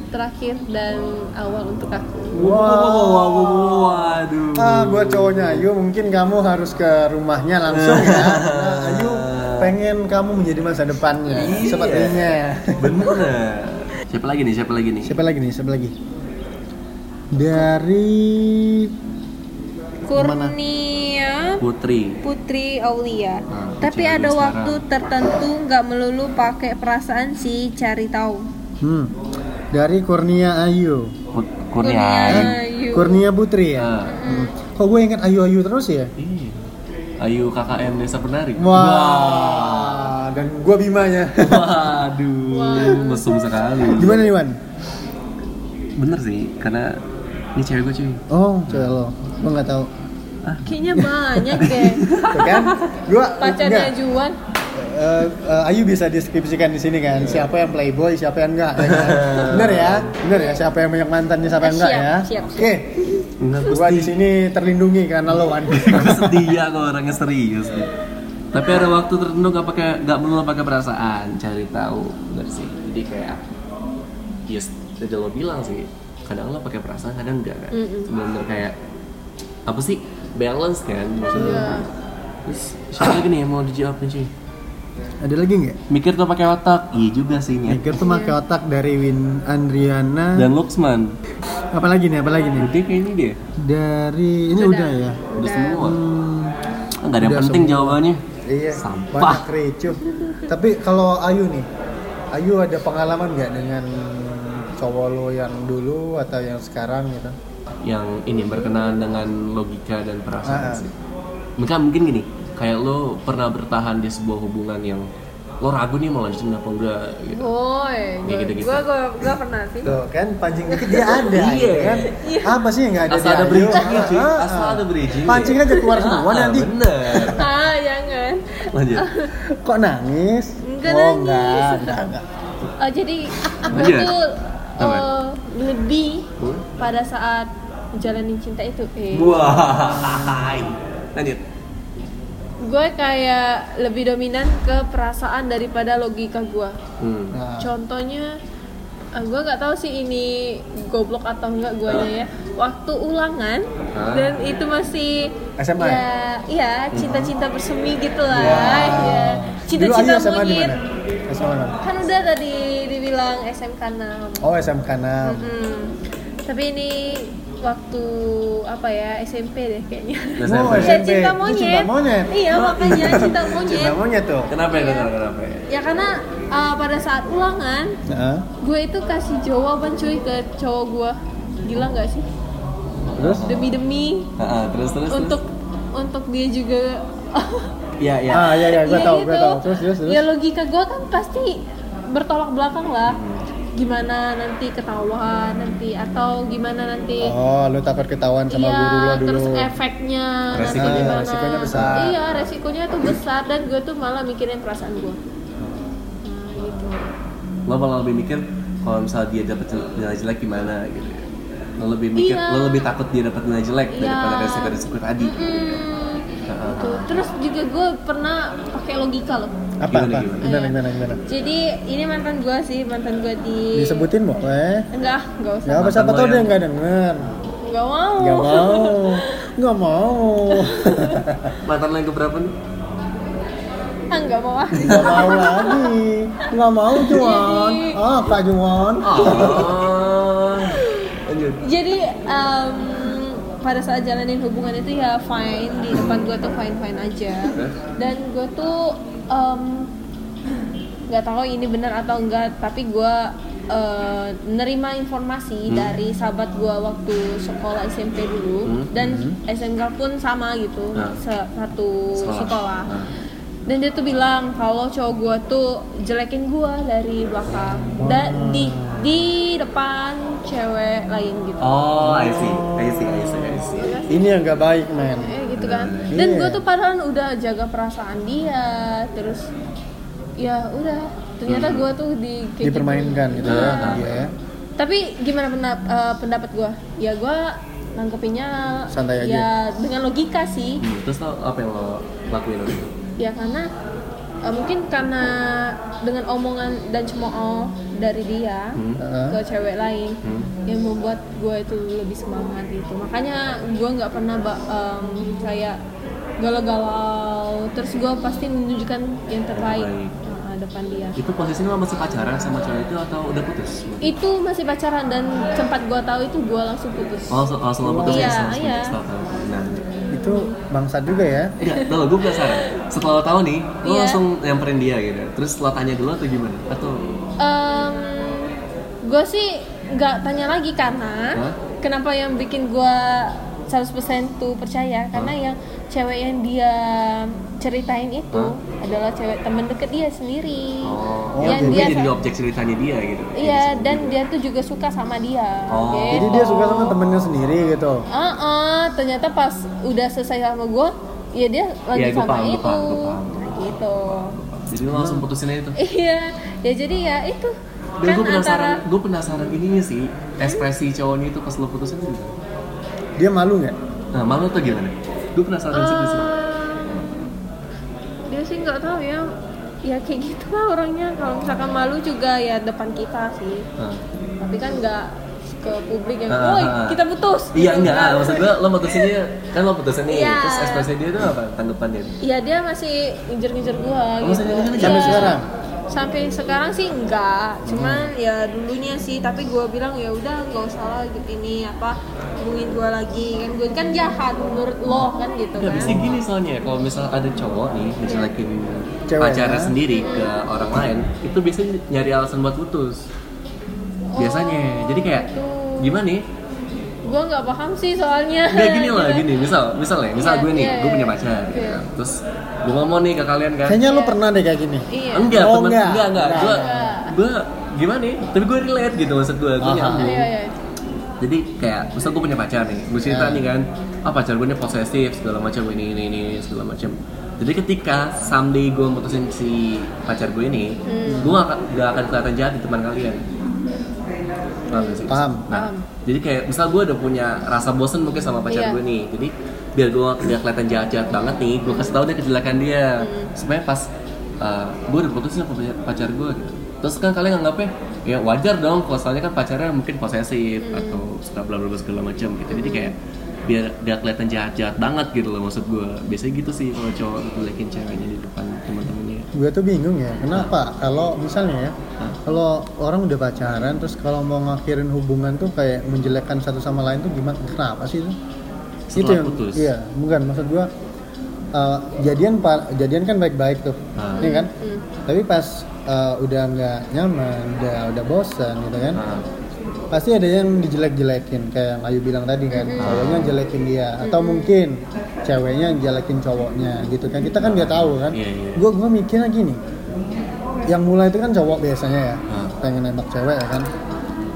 Speaker 3: terakhir dan awal untuk aku
Speaker 2: Wow.
Speaker 1: waduh
Speaker 2: gimana? Ah, buat cowoknya Ayu mungkin kamu harus ke rumahnya langsung ya. Nah, Ayu pengen kamu menjadi masa depannya
Speaker 1: Iya.
Speaker 2: sepertinya.
Speaker 1: bener siapa lagi nih siapa lagi nih
Speaker 2: Siapa lagi nih? Siapa lagi? Dari Gimana?
Speaker 3: Kurnia
Speaker 1: Putri
Speaker 3: Putri Aulia.
Speaker 2: Ah,
Speaker 1: Nah, cari
Speaker 3: Tapi ada
Speaker 1: sekarang.
Speaker 3: waktu tertentu nggak melulu pakai perasaan sih cari tahu.
Speaker 2: Hmm. Dari Kurnia Ayu.
Speaker 1: Put- Kurnia
Speaker 3: Ayu.
Speaker 2: Kurnia Putri ya.
Speaker 1: Nah,
Speaker 2: Hmm. Kok gue ingat Ayu Ayu terus ya?
Speaker 1: iya. Ayu KKN Desa Penari
Speaker 2: Wah. Dan gue bimanya.
Speaker 1: Waduh, mesum sekali.
Speaker 2: Gimana nih Wan?
Speaker 1: Bener sih, karena ini cewek gue cuy.
Speaker 2: Oh, coba lo. Gue nggak tahu.
Speaker 3: Kayaknya banyak deh
Speaker 2: Tuh kan? Gue
Speaker 3: pacarnya Juan.
Speaker 2: Eh, eh, Ayu bisa deskripsikan di sini kan
Speaker 1: Iya.
Speaker 2: siapa yang playboy siapa yang enggak ya kan? bener ya bener ya siapa yang banyak mantannya siapa yang enggak ya
Speaker 3: Siap, siap, siap.
Speaker 2: oke
Speaker 1: Enggak, gue
Speaker 2: gua di sini terlindungi karena lo Wan
Speaker 1: gue setia kok orangnya serius nih. Tapi ada waktu tertentu nggak pakai nggak melulu pakai perasaan, cari tahu bener sih. Jadi kayak ya sudah lo bilang sih, kadang lo pakai perasaan, kadang enggak kan. Bener kayak apa sih balance kan maksudnya. Terus siapa lagi nih yang mau dijawab nih cuy?
Speaker 2: ada lagi nggak
Speaker 1: Mikir tuh pakai otak. Iya juga sih Nyet.
Speaker 2: Mikir tuh pakai
Speaker 3: Iya.
Speaker 2: otak dari Win Andriana
Speaker 1: Dan Luxman,
Speaker 2: apa lagi nih apa lagi nih
Speaker 1: udah kayaknya dia.
Speaker 2: dari ini udah ya
Speaker 1: Udah semua.
Speaker 2: Hmm,
Speaker 1: Enggak ada yang
Speaker 2: Udah
Speaker 1: penting
Speaker 2: semua.
Speaker 1: jawabannya.
Speaker 2: iya
Speaker 1: Sampah.
Speaker 2: banyak ricu tapi kalau Ayu nih Ayu ada pengalaman nggak dengan cowok lo yang dulu atau yang sekarang gitu
Speaker 1: Yang ini berkenaan dengan logika dan perasaan
Speaker 2: Ah, ah.
Speaker 1: sih. Maka mungkin gini, kayak lo pernah bertahan di sebuah hubungan yang lo ragu nih mau lanjutin apa enggak gitu.
Speaker 3: Woi,
Speaker 1: Kayak
Speaker 3: gua-
Speaker 1: gitu-gitu.
Speaker 3: gua gua gua pernah sih.
Speaker 2: Tuh kan pancing dikit dia ada
Speaker 1: Iya.
Speaker 2: kan. Apa sih yang nggak ada?
Speaker 1: Asal
Speaker 2: di
Speaker 1: ada
Speaker 2: Ayu?
Speaker 1: bridging-nya, cuy.
Speaker 2: Ah, ah,
Speaker 1: Asal
Speaker 2: ah.
Speaker 1: ada bridging-nya.
Speaker 2: Pancing aja keluar semua
Speaker 1: Ah,
Speaker 2: nanti.
Speaker 1: Bener.
Speaker 3: Ah, jangan.
Speaker 1: Lanjut.
Speaker 2: Kok nangis?
Speaker 3: Enggak
Speaker 2: oh,
Speaker 3: nangis.
Speaker 2: Enggak, enggak, enggak.
Speaker 3: Oh, jadi gua
Speaker 1: Iya.
Speaker 3: tuh
Speaker 1: Apa?
Speaker 3: eh, lebih
Speaker 1: Hmm?
Speaker 3: pada saat jalanin cinta itu eh
Speaker 1: Wah. Lanjut.
Speaker 3: gue kayak lebih dominan ke perasaan daripada logika gue
Speaker 1: Hmm.
Speaker 2: Nah,
Speaker 3: contohnya gue nggak tahu sih ini goblok atau enggak gue ya waktu ulangan
Speaker 1: Ah.
Speaker 3: dan itu masih
Speaker 2: SMA?
Speaker 3: ya iya cinta-cinta bersemi gitu
Speaker 2: Wah.
Speaker 3: lah ya
Speaker 2: Hmm. Iya. Dulu Ayu
Speaker 3: cinta-cinta
Speaker 2: SMA di
Speaker 3: monyet
Speaker 2: mana? SMA mana?
Speaker 3: kan udah tadi dibilang SMK 6
Speaker 2: Oh, SMK 6.
Speaker 3: Hmm. Tapi ini waktu apa ya SMP deh kayaknya.
Speaker 1: Nah,
Speaker 2: Wow,
Speaker 1: saya-
Speaker 3: Ya
Speaker 2: SMP.
Speaker 3: cinta
Speaker 2: Itu
Speaker 3: monyet.
Speaker 2: cinta monyet.
Speaker 3: Iya makanya cinta monyet.
Speaker 2: Cinta monyet tuh.
Speaker 1: Kenapa ya? Kenapa? Kenapa ya?
Speaker 3: Ya karena uh, pada saat ulangan
Speaker 2: Heeh.
Speaker 3: gue itu kasih jawaban cuy ke cowok gue. Gila nggak sih?
Speaker 2: Terus?
Speaker 3: Demi demi
Speaker 1: Ah, ah, terus terus. terus.
Speaker 3: untuk untuk dia juga.
Speaker 1: Iya, iya.
Speaker 2: Ah, iya iya, gua
Speaker 3: Iya
Speaker 2: tahu,
Speaker 3: gitu.
Speaker 2: gua tahu. Terus, terus, terus.
Speaker 3: Ya logika gue kan pasti bertolak belakang lah. Gimana nanti ketahuan nanti atau gimana nanti
Speaker 2: Oh, lu takut ketahuan sama
Speaker 3: iya,
Speaker 2: guru lo dulu.
Speaker 3: terus efeknya nanti
Speaker 1: Resikonya.
Speaker 3: gimana.
Speaker 2: Resikonya besar.
Speaker 3: Iya, resikonya tuh besar dan gue tuh malah mikirin perasaan gue. Nah, gitu.
Speaker 1: lo malah lebih mikir kalau misalnya dia dapat jel- nilai jelek gimana gitu ya. lo lebih mikir
Speaker 3: Iya.
Speaker 1: lo lebih takut dia dapat nilai jelek
Speaker 3: Iya.
Speaker 1: daripada resiko resiko tadi
Speaker 3: Mm,
Speaker 1: Heeh.
Speaker 3: gitu. Terus juga gue pernah pakai logika loh.
Speaker 2: Apa
Speaker 1: Gimana,
Speaker 2: apa?
Speaker 1: gimana?
Speaker 2: Gimana
Speaker 3: Iya.
Speaker 2: gimana gimana?
Speaker 3: Jadi ini mantan gue sih, mantan gue di
Speaker 2: Disebutin boleh.
Speaker 3: enggak, enggak usah.
Speaker 2: Gak apa
Speaker 1: Mantan
Speaker 2: siapa
Speaker 1: lo
Speaker 2: tau
Speaker 1: yang-
Speaker 2: dia nggak denger.
Speaker 3: Enggak mau.
Speaker 2: Gak
Speaker 1: Oh.
Speaker 2: mau, gak mau.
Speaker 1: mantan lo yang keberapa nih
Speaker 3: Ah, enggak mau ah.
Speaker 2: Gak mau lagi, gak mau cuan. Ah, Kak Juan.
Speaker 1: oh lanjut
Speaker 3: Jadi em, pada saat jalanin hubungan itu ya fine di depan gue tuh fine fine aja
Speaker 1: Terus?
Speaker 3: dan gue tuh em, nggak tahu ini benar atau enggak tapi gue eh, nerima informasi dari sahabat gue waktu sekolah SMP dulu
Speaker 1: Hmm.
Speaker 3: dan SMK pun sama gitu
Speaker 1: Nah.
Speaker 3: se- satu
Speaker 1: Sekolah.
Speaker 3: sekolah,
Speaker 1: Nah.
Speaker 3: dan dia tuh bilang kalau cowok gue tuh jelekin gue dari belakang dan di di depan cewek lain gitu
Speaker 1: oh I see I see I see I see
Speaker 2: Ini yang gak baik, men.
Speaker 3: Eh, gitu kan
Speaker 1: Bener.
Speaker 3: dan gue
Speaker 2: Iya.
Speaker 3: tuh padahal udah jaga perasaan dia terus ya udah ternyata gue tuh di kayak gitu.
Speaker 2: Hmm. Dipermainkan gitu ya.
Speaker 1: Nah.
Speaker 2: Iya.
Speaker 3: tapi gimana pendapat, eh, pendapat gue ya gue nangkepinnya
Speaker 2: Santai aja.
Speaker 3: ya dengan logika sih
Speaker 1: Hmm, terus lo apa yang lo lakuin waktu itu?
Speaker 3: ya karena eh, mungkin karena dengan omongan dan cemooh dari dia
Speaker 1: Hmm.
Speaker 2: Heeh.
Speaker 3: ke cewek lain
Speaker 1: Hmm.
Speaker 3: yang membuat gue itu lebih semangat gitu makanya gue nggak pernah ba- em, kayak galau-galau terus gue pasti menunjukkan yang terbaik
Speaker 1: Terbaik.
Speaker 3: nah, depan dia
Speaker 1: itu posisinya lo masih pacaran sama cowok itu atau udah putus
Speaker 3: itu masih pacaran dan sempat gue tahu itu gue langsung putus
Speaker 1: Oh, langsung, langsung lo putus
Speaker 3: Iya,
Speaker 1: ya? Langsung
Speaker 3: iya.
Speaker 1: putus, langsung. Nah,
Speaker 2: itu bangsat juga ya.
Speaker 1: Enggak, tau gue Iya, penasaran. Setelah lo tahu nih, lo
Speaker 3: Iya.
Speaker 1: langsung nyamperin dia gitu. Terus lo tanya dulu atau gimana? Atau
Speaker 3: gue sih nggak tanya lagi karena
Speaker 1: Hah?
Speaker 3: kenapa yang bikin gue 100% tuh percaya karena yang cewek yang dia ceritain itu
Speaker 1: Hah?
Speaker 3: adalah cewek temen deket dia sendiri
Speaker 1: oh,
Speaker 2: Oh,
Speaker 1: ya, gue
Speaker 3: yang Iya, dia kan-
Speaker 1: jadi objek ceritanya dia gitu.
Speaker 3: iya dan dia tuh juga suka sama dia
Speaker 1: Oh.
Speaker 3: gitu.
Speaker 2: Jadi dia suka sama temennya sendiri gitu.
Speaker 3: Ah, ah, ternyata pas udah selesai sama gue ya dia lagi
Speaker 1: Iya, gua
Speaker 3: sama
Speaker 1: paham, gua
Speaker 3: itu
Speaker 1: paham, gua paham.
Speaker 3: Nah, gitu
Speaker 1: Jadi lo langsung putusin aja tuh.
Speaker 3: iya ya jadi ya itu
Speaker 1: Dan gue
Speaker 3: kan antara
Speaker 1: penasaran, gue penasaran ininya sih ekspresi cowoknya itu pas lo putusin tuh gimana?
Speaker 2: Dia malu nggak?
Speaker 1: Nah, malu tuh gimana? Gue penasaran sih Kan
Speaker 3: Ah.
Speaker 1: sih.
Speaker 3: Eh, dia sih nggak tahu ya ya kayak gitu lah orangnya kalau misalkan malu juga ya depan kita sih
Speaker 1: Nah.
Speaker 3: tapi kan nggak ke publik yang
Speaker 1: Ah,
Speaker 3: Ya, woi
Speaker 1: ah, ah.
Speaker 3: kita putus
Speaker 1: Iya
Speaker 3: Gitu,
Speaker 1: enggak, maksud gue lo putusinnya kan lo putusin nih,
Speaker 3: Iya.
Speaker 1: terus ekspresi dia tuh apa tanggapannya?
Speaker 3: Iya dia masih ngejar-ngejar gua
Speaker 1: Oh,
Speaker 3: gitu.
Speaker 1: masih ngejar-ngejar?
Speaker 2: Sampai
Speaker 3: Iya.
Speaker 2: sekarang?
Speaker 3: Sampai sekarang sih enggak,
Speaker 1: Hmm.
Speaker 3: cuman ya dulunya sih. Tapi gua bilang ya udah nggak usah lah gitu ini apa hubungin gua lagi kan gua kan jahat menurut lo kan gitu
Speaker 1: Nggak
Speaker 3: kan.
Speaker 1: bisa gini soalnya kalau misal ada cowok nih ngejelekin
Speaker 2: Ceweknya.
Speaker 1: pacarnya sendiri ke orang lain itu biasanya nyari alasan buat putus biasanya jadi kayak
Speaker 3: gitu.
Speaker 1: gimana nih
Speaker 3: Gua nggak paham sih soalnya.
Speaker 1: Nggak gini lah gini misal misal ya misal
Speaker 3: Iya,
Speaker 1: gue nih
Speaker 3: iya,
Speaker 1: gue
Speaker 3: iya.
Speaker 1: punya pacar gitu
Speaker 3: Iya.
Speaker 1: kan. terus gue ngomong nih ke kalian kan
Speaker 2: Kayaknya lu pernah deh kayak gini.
Speaker 3: Iya.
Speaker 1: enggak
Speaker 2: Oh,
Speaker 1: temen
Speaker 2: enggak.
Speaker 1: enggak enggak
Speaker 2: Enggak,
Speaker 1: gue
Speaker 3: enggak.
Speaker 1: gue gimana nih tapi gue relate gitu maksud gue gue
Speaker 2: Aha.
Speaker 1: nyambung.
Speaker 3: Iya iya.
Speaker 1: jadi kayak misal gue punya pacar nih gue cerita
Speaker 2: Ya.
Speaker 1: nih kan ah pacar gue ini posesif segala macam ini ini ini segala macam jadi ketika someday gue mutusin si pacar gue ini
Speaker 3: Hmm.
Speaker 1: gue gak, akan- gak akan kelihatan jahat di teman kalian paham gak sih?
Speaker 2: Paham.
Speaker 1: nah
Speaker 3: Paham.
Speaker 1: jadi kayak misal gue udah punya rasa bosen mungkin sama pacar
Speaker 3: Iya.
Speaker 1: gue nih jadi biar gue gak kelihatan jahat jahat banget nih gue kasih tau deh kejelekan dia sebenarnya pas uh, gue udah putusin sama pacar- pacar gue gitu terus kan kalian nganggapnya ya wajar dong kalau soalnya kan pacarnya mungkin posesif atau suka bla bla bla segala macam gitu jadi kayak biar gak kelihatan jahat jahat banget gitu loh maksud gue biasanya gitu sih kalau cowok ngejelekin ceweknya di depan teman-temannya
Speaker 2: Gue tuh bingung ya, kenapa kalau misalnya ya,
Speaker 1: Hah?
Speaker 2: kalau orang udah pacaran terus kalau mau ngakhirin hubungan tuh kayak menjelekkan satu sama lain tuh gimana? Kenapa sih itu?
Speaker 1: Setelah putus.
Speaker 2: Iya, bukan maksud gua eh, jadian pa- jadian kan baik-baik tuh,
Speaker 1: Ah.
Speaker 2: iya kan? Tapi pas eh, udah nggak nyaman, udah udah bosan gitu kan?
Speaker 1: Nah,
Speaker 2: Pasti ada yang dijelek-jelekin kayak yang Ayu bilang tadi kan, cowoknya jelekin dia atau mungkin ceweknya jelekin cowoknya gitu kan. Kita kan nggak tahu kan.
Speaker 1: Iya, iya.
Speaker 2: Gue gue mikirnya gini. Yang mulai itu kan cowok biasanya ya,
Speaker 1: Hmm.
Speaker 2: pengen nembak cewek ya kan.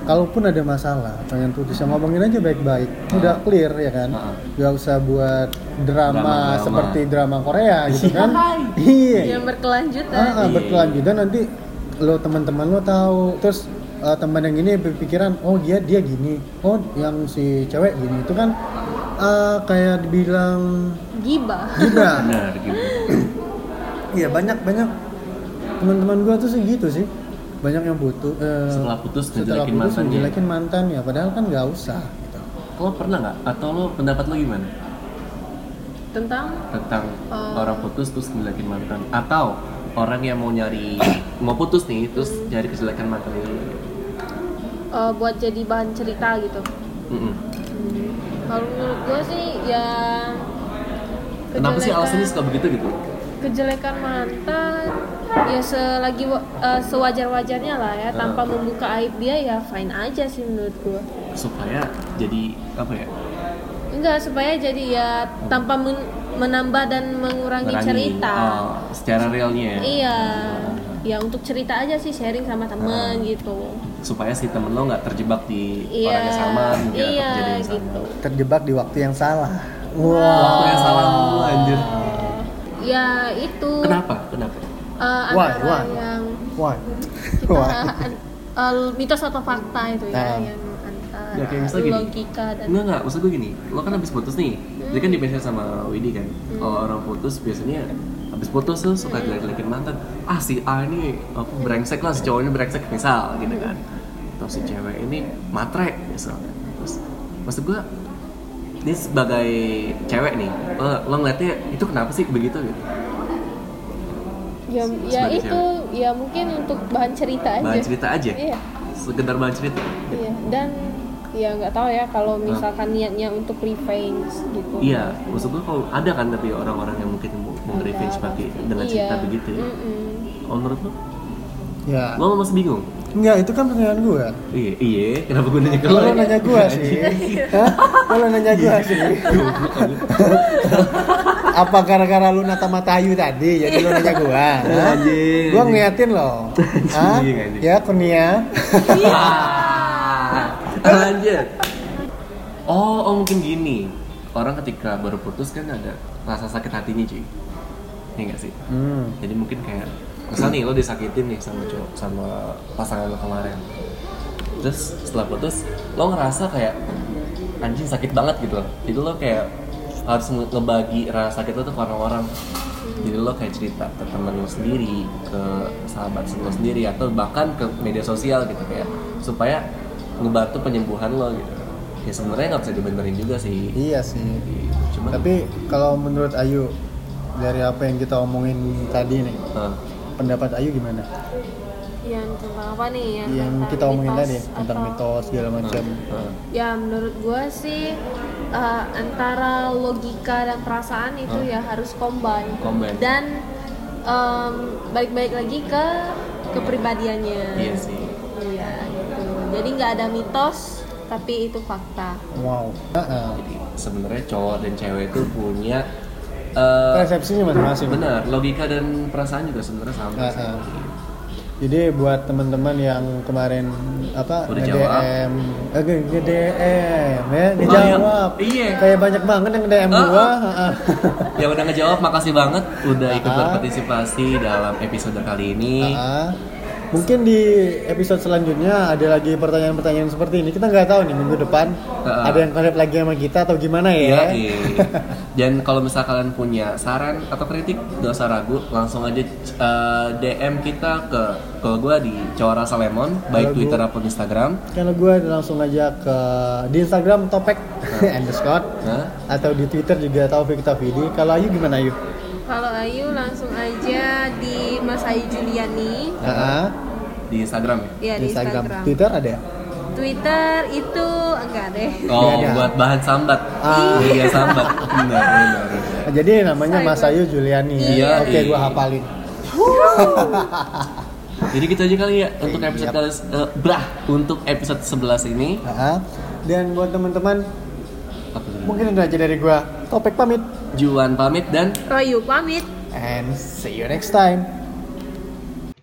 Speaker 2: Kalaupun ada masalah, pengen putus ya ngomongin aja baik-baik. Udah clear ya kan.
Speaker 1: Hmm.
Speaker 2: Gak usah buat drama,
Speaker 1: Drama-drama.
Speaker 2: seperti drama Korea gitu kan. Iya.
Speaker 3: Yang berkelanjutan.
Speaker 2: Ah, ah,
Speaker 1: Iya.
Speaker 2: berkelanjutan nanti lo teman-teman lo tahu terus eh, teman yang ini berpikiran oh dia dia gini oh yang si cewek gini itu kan eh, kayak dibilang
Speaker 3: Gibah.
Speaker 2: gibah
Speaker 1: benar gitu
Speaker 2: iya banyak banyak teman-teman gua tuh sih gitu sih banyak yang butuh eh,
Speaker 1: Setelah putus
Speaker 2: setelah
Speaker 1: ngejelekin
Speaker 2: putus
Speaker 1: mantannya.
Speaker 2: ngejelekin mantan ya padahal kan nggak usah gitu.
Speaker 1: lo pernah nggak atau lo pendapat lo gimana
Speaker 3: Tentang
Speaker 1: tentang
Speaker 3: Oh.
Speaker 1: orang putus terus ngejelekin mantan atau orang yang mau nyari mau putus nih terus
Speaker 3: Hmm.
Speaker 1: nyari kejelekan mantan itu
Speaker 3: eh, buat jadi bahan cerita gitu.
Speaker 1: Mm-mm.
Speaker 3: Kalau menurut gue sih ya.
Speaker 1: kenapa sih
Speaker 3: kejelekan-
Speaker 1: alasannya suka begitu gitu
Speaker 3: kejelekan mantan ya selagi wa- eh, sewajar-wajarnya lah ya tanpa membuka aib dia ya fine aja sih menurut gua
Speaker 1: supaya jadi apa ya
Speaker 3: enggak supaya jadi ya tanpa men- menambah dan mengurangi
Speaker 1: merangi,
Speaker 3: cerita
Speaker 1: oh, secara realnya
Speaker 3: iya ya untuk cerita aja sih sharing sama temen gitu
Speaker 1: supaya si temen lo nggak terjebak di
Speaker 3: iya
Speaker 1: orang yang sama mungkin atau
Speaker 3: iya
Speaker 1: kejadian yang sama.
Speaker 3: gitu
Speaker 2: terjebak di waktu yang salah
Speaker 1: waktu yang salah mulu, anjir
Speaker 3: ya itu
Speaker 1: kenapa kenapa
Speaker 3: eh,
Speaker 2: Why?
Speaker 3: antara
Speaker 2: Why?
Speaker 3: yang
Speaker 2: wah
Speaker 3: kita eh, mitos atau fakta itu ya
Speaker 2: Nah.
Speaker 3: yang antara
Speaker 1: Ya, kayak misalnya gini.
Speaker 3: logika dan Hmm.
Speaker 1: Enggak enggak, maksud gue gini, lo kan habis putus nih, dia kan dipesan sama Widi kan. Kalau orang putus biasanya habis putus tuh suka
Speaker 3: Hmm.
Speaker 1: jelek-jelekin mantan. Ah si A ini apa, brengsek lah, si cowoknya brengsek misal gitu kan.
Speaker 3: Hmm.
Speaker 1: Terus si cewek ini matre misal. Terus maksud gue ini sebagai cewek nih, lo, lo ngeliatnya itu kenapa sih begitu gitu?
Speaker 3: ya, ya
Speaker 1: Sebagai
Speaker 3: itu ya mungkin untuk bahan cerita aja
Speaker 1: Bahan cerita aja,
Speaker 3: iya
Speaker 1: sekedar bahan cerita.
Speaker 3: iya dan
Speaker 5: ya nggak tahu ya kalau misalkan niatnya untuk revenge gitu
Speaker 1: Nah. Iya, maksud gue kalau ada kan tapi orang-orang yang mungkin mau, mau
Speaker 5: Ada
Speaker 1: revenge pakai
Speaker 5: pasti.
Speaker 1: dengan cerita
Speaker 5: Iya.
Speaker 1: begitu
Speaker 3: Hmm.
Speaker 1: ya.
Speaker 5: Mm-mm.
Speaker 1: Oh, menurut lo?
Speaker 2: ya
Speaker 1: Lo masih bingung?
Speaker 2: enggak itu kan pertanyaan gue
Speaker 1: Iya, iya. Kenapa gue nanya ke
Speaker 2: kalau nanya gue sih Hah? kalau nanya gue sih apa gara-gara lu nata matayu tadi jadi lu nanya gue
Speaker 1: Anjing,
Speaker 2: gue
Speaker 1: anjing.
Speaker 2: ngeliatin lo Hah?
Speaker 1: Anjing, anjing.
Speaker 2: ya kurnia
Speaker 1: Ah, Iya. Lanjut. Oh, oh mungkin gini. Orang ketika baru putus kan ada rasa sakit hatinya cuy. Iya nggak sih?
Speaker 2: hmm.
Speaker 1: Jadi mungkin kayak misal nih lo disakitin nih sama cowok sama pasangan lo kemarin. Terus setelah putus lo ngerasa kayak anjing sakit banget gitu loh. Jadi lo kayak harus nge- ngebagi rasa sakit lo tuh ke orang-orang. Jadi lo kayak cerita ke teman lo sendiri, ke sahabat lo sendiri atau bahkan ke media sosial gitu kayak supaya ngebantu penyembuhan lo gitu. Ya sebenarnya nggak bisa dibenerin juga sih. Gitu.
Speaker 2: iya sih
Speaker 1: Cuma
Speaker 2: tapi kalau menurut Ayu dari apa yang kita omongin tadi nih
Speaker 1: eh,
Speaker 2: pendapat Ayu gimana
Speaker 5: yang tentang apa nih yang,
Speaker 2: yang
Speaker 5: tentang
Speaker 2: kita omongin
Speaker 5: mitos
Speaker 2: tadi ya, tentang
Speaker 5: atau-
Speaker 2: mitos segala
Speaker 1: eh,
Speaker 2: macam
Speaker 5: Ya menurut gue sih eh, antara logika dan perasaan itu
Speaker 1: Hmm.
Speaker 5: ya harus combine.
Speaker 1: Combine.
Speaker 5: Dan em, balik-balik lagi ke kepribadiannya.
Speaker 1: iya sih.
Speaker 5: Iya, gitu. Jadi nggak ada mitos tapi itu fakta.
Speaker 2: wow Heeh.
Speaker 1: Jadi sebenarnya cowok dan cewek itu punya eh
Speaker 2: persepsinya masing-masing
Speaker 1: benar logika dan perasaan juga sebenarnya sama
Speaker 2: Nah,
Speaker 1: sih.
Speaker 2: nah. Jadi buat teman-teman yang kemarin apa
Speaker 1: Udah
Speaker 2: nge-DM, eh, nge- nge-DM ya, ngejawab.
Speaker 1: Oh, iya. Iya.
Speaker 2: Kayak banyak banget yang nge-DM
Speaker 1: Ah,
Speaker 2: gua.
Speaker 1: ah.
Speaker 2: heeh.
Speaker 1: Ya udah ngejawab, makasih banget udah ikut
Speaker 2: Ah.
Speaker 1: berpartisipasi dalam episode kali ini.
Speaker 2: Heeh. Ah, Mungkin di episode selanjutnya ada lagi pertanyaan-pertanyaan seperti ini. Kita nggak tahu nih minggu depan
Speaker 1: Ah.
Speaker 2: ada yang collab lagi sama kita atau gimana
Speaker 1: Iya.
Speaker 2: ya.
Speaker 1: Dan kalau misal kalian punya saran atau kritik, gak usah ragu, langsung aja eh, DM kita ke kalau gua di Cowok Rasa Lemon, baik
Speaker 2: Kalau
Speaker 1: Twitter
Speaker 2: gua-
Speaker 1: ataupun Instagram.
Speaker 2: Kalau gue langsung aja ke di Instagram topek underscore
Speaker 1: Nah,
Speaker 2: atau di Twitter juga Taufik Tafidi. Kalau Ayu gimana Ayu?
Speaker 3: Kalau Ayu langsung aja di Mas Ayu Juliani
Speaker 2: Heeh.
Speaker 1: di Instagram ya.
Speaker 3: ya di Instagram.
Speaker 2: Twitter ada ya?
Speaker 3: Twitter itu enggak deh.
Speaker 1: Oh,
Speaker 2: Iya, ada.
Speaker 1: buat bahan sambat.
Speaker 2: Ah.
Speaker 1: Iya, sambat. Benar, benar, benar.
Speaker 2: Nah, Jadi namanya Mas Ayu Juliani. ya?
Speaker 1: Iya.
Speaker 2: Oke, gua hafalin.
Speaker 1: Jadi gitu aja kali ya untuk
Speaker 2: Iya.
Speaker 1: episode kali eh, brah untuk episode 11 ini.
Speaker 2: Heeh. Dan buat teman-teman,
Speaker 1: Apa tuh?
Speaker 2: mungkin itu aja dari gua. Topik pamit.
Speaker 1: Juan pamit dan
Speaker 3: Royu pamit.
Speaker 2: And see you next time.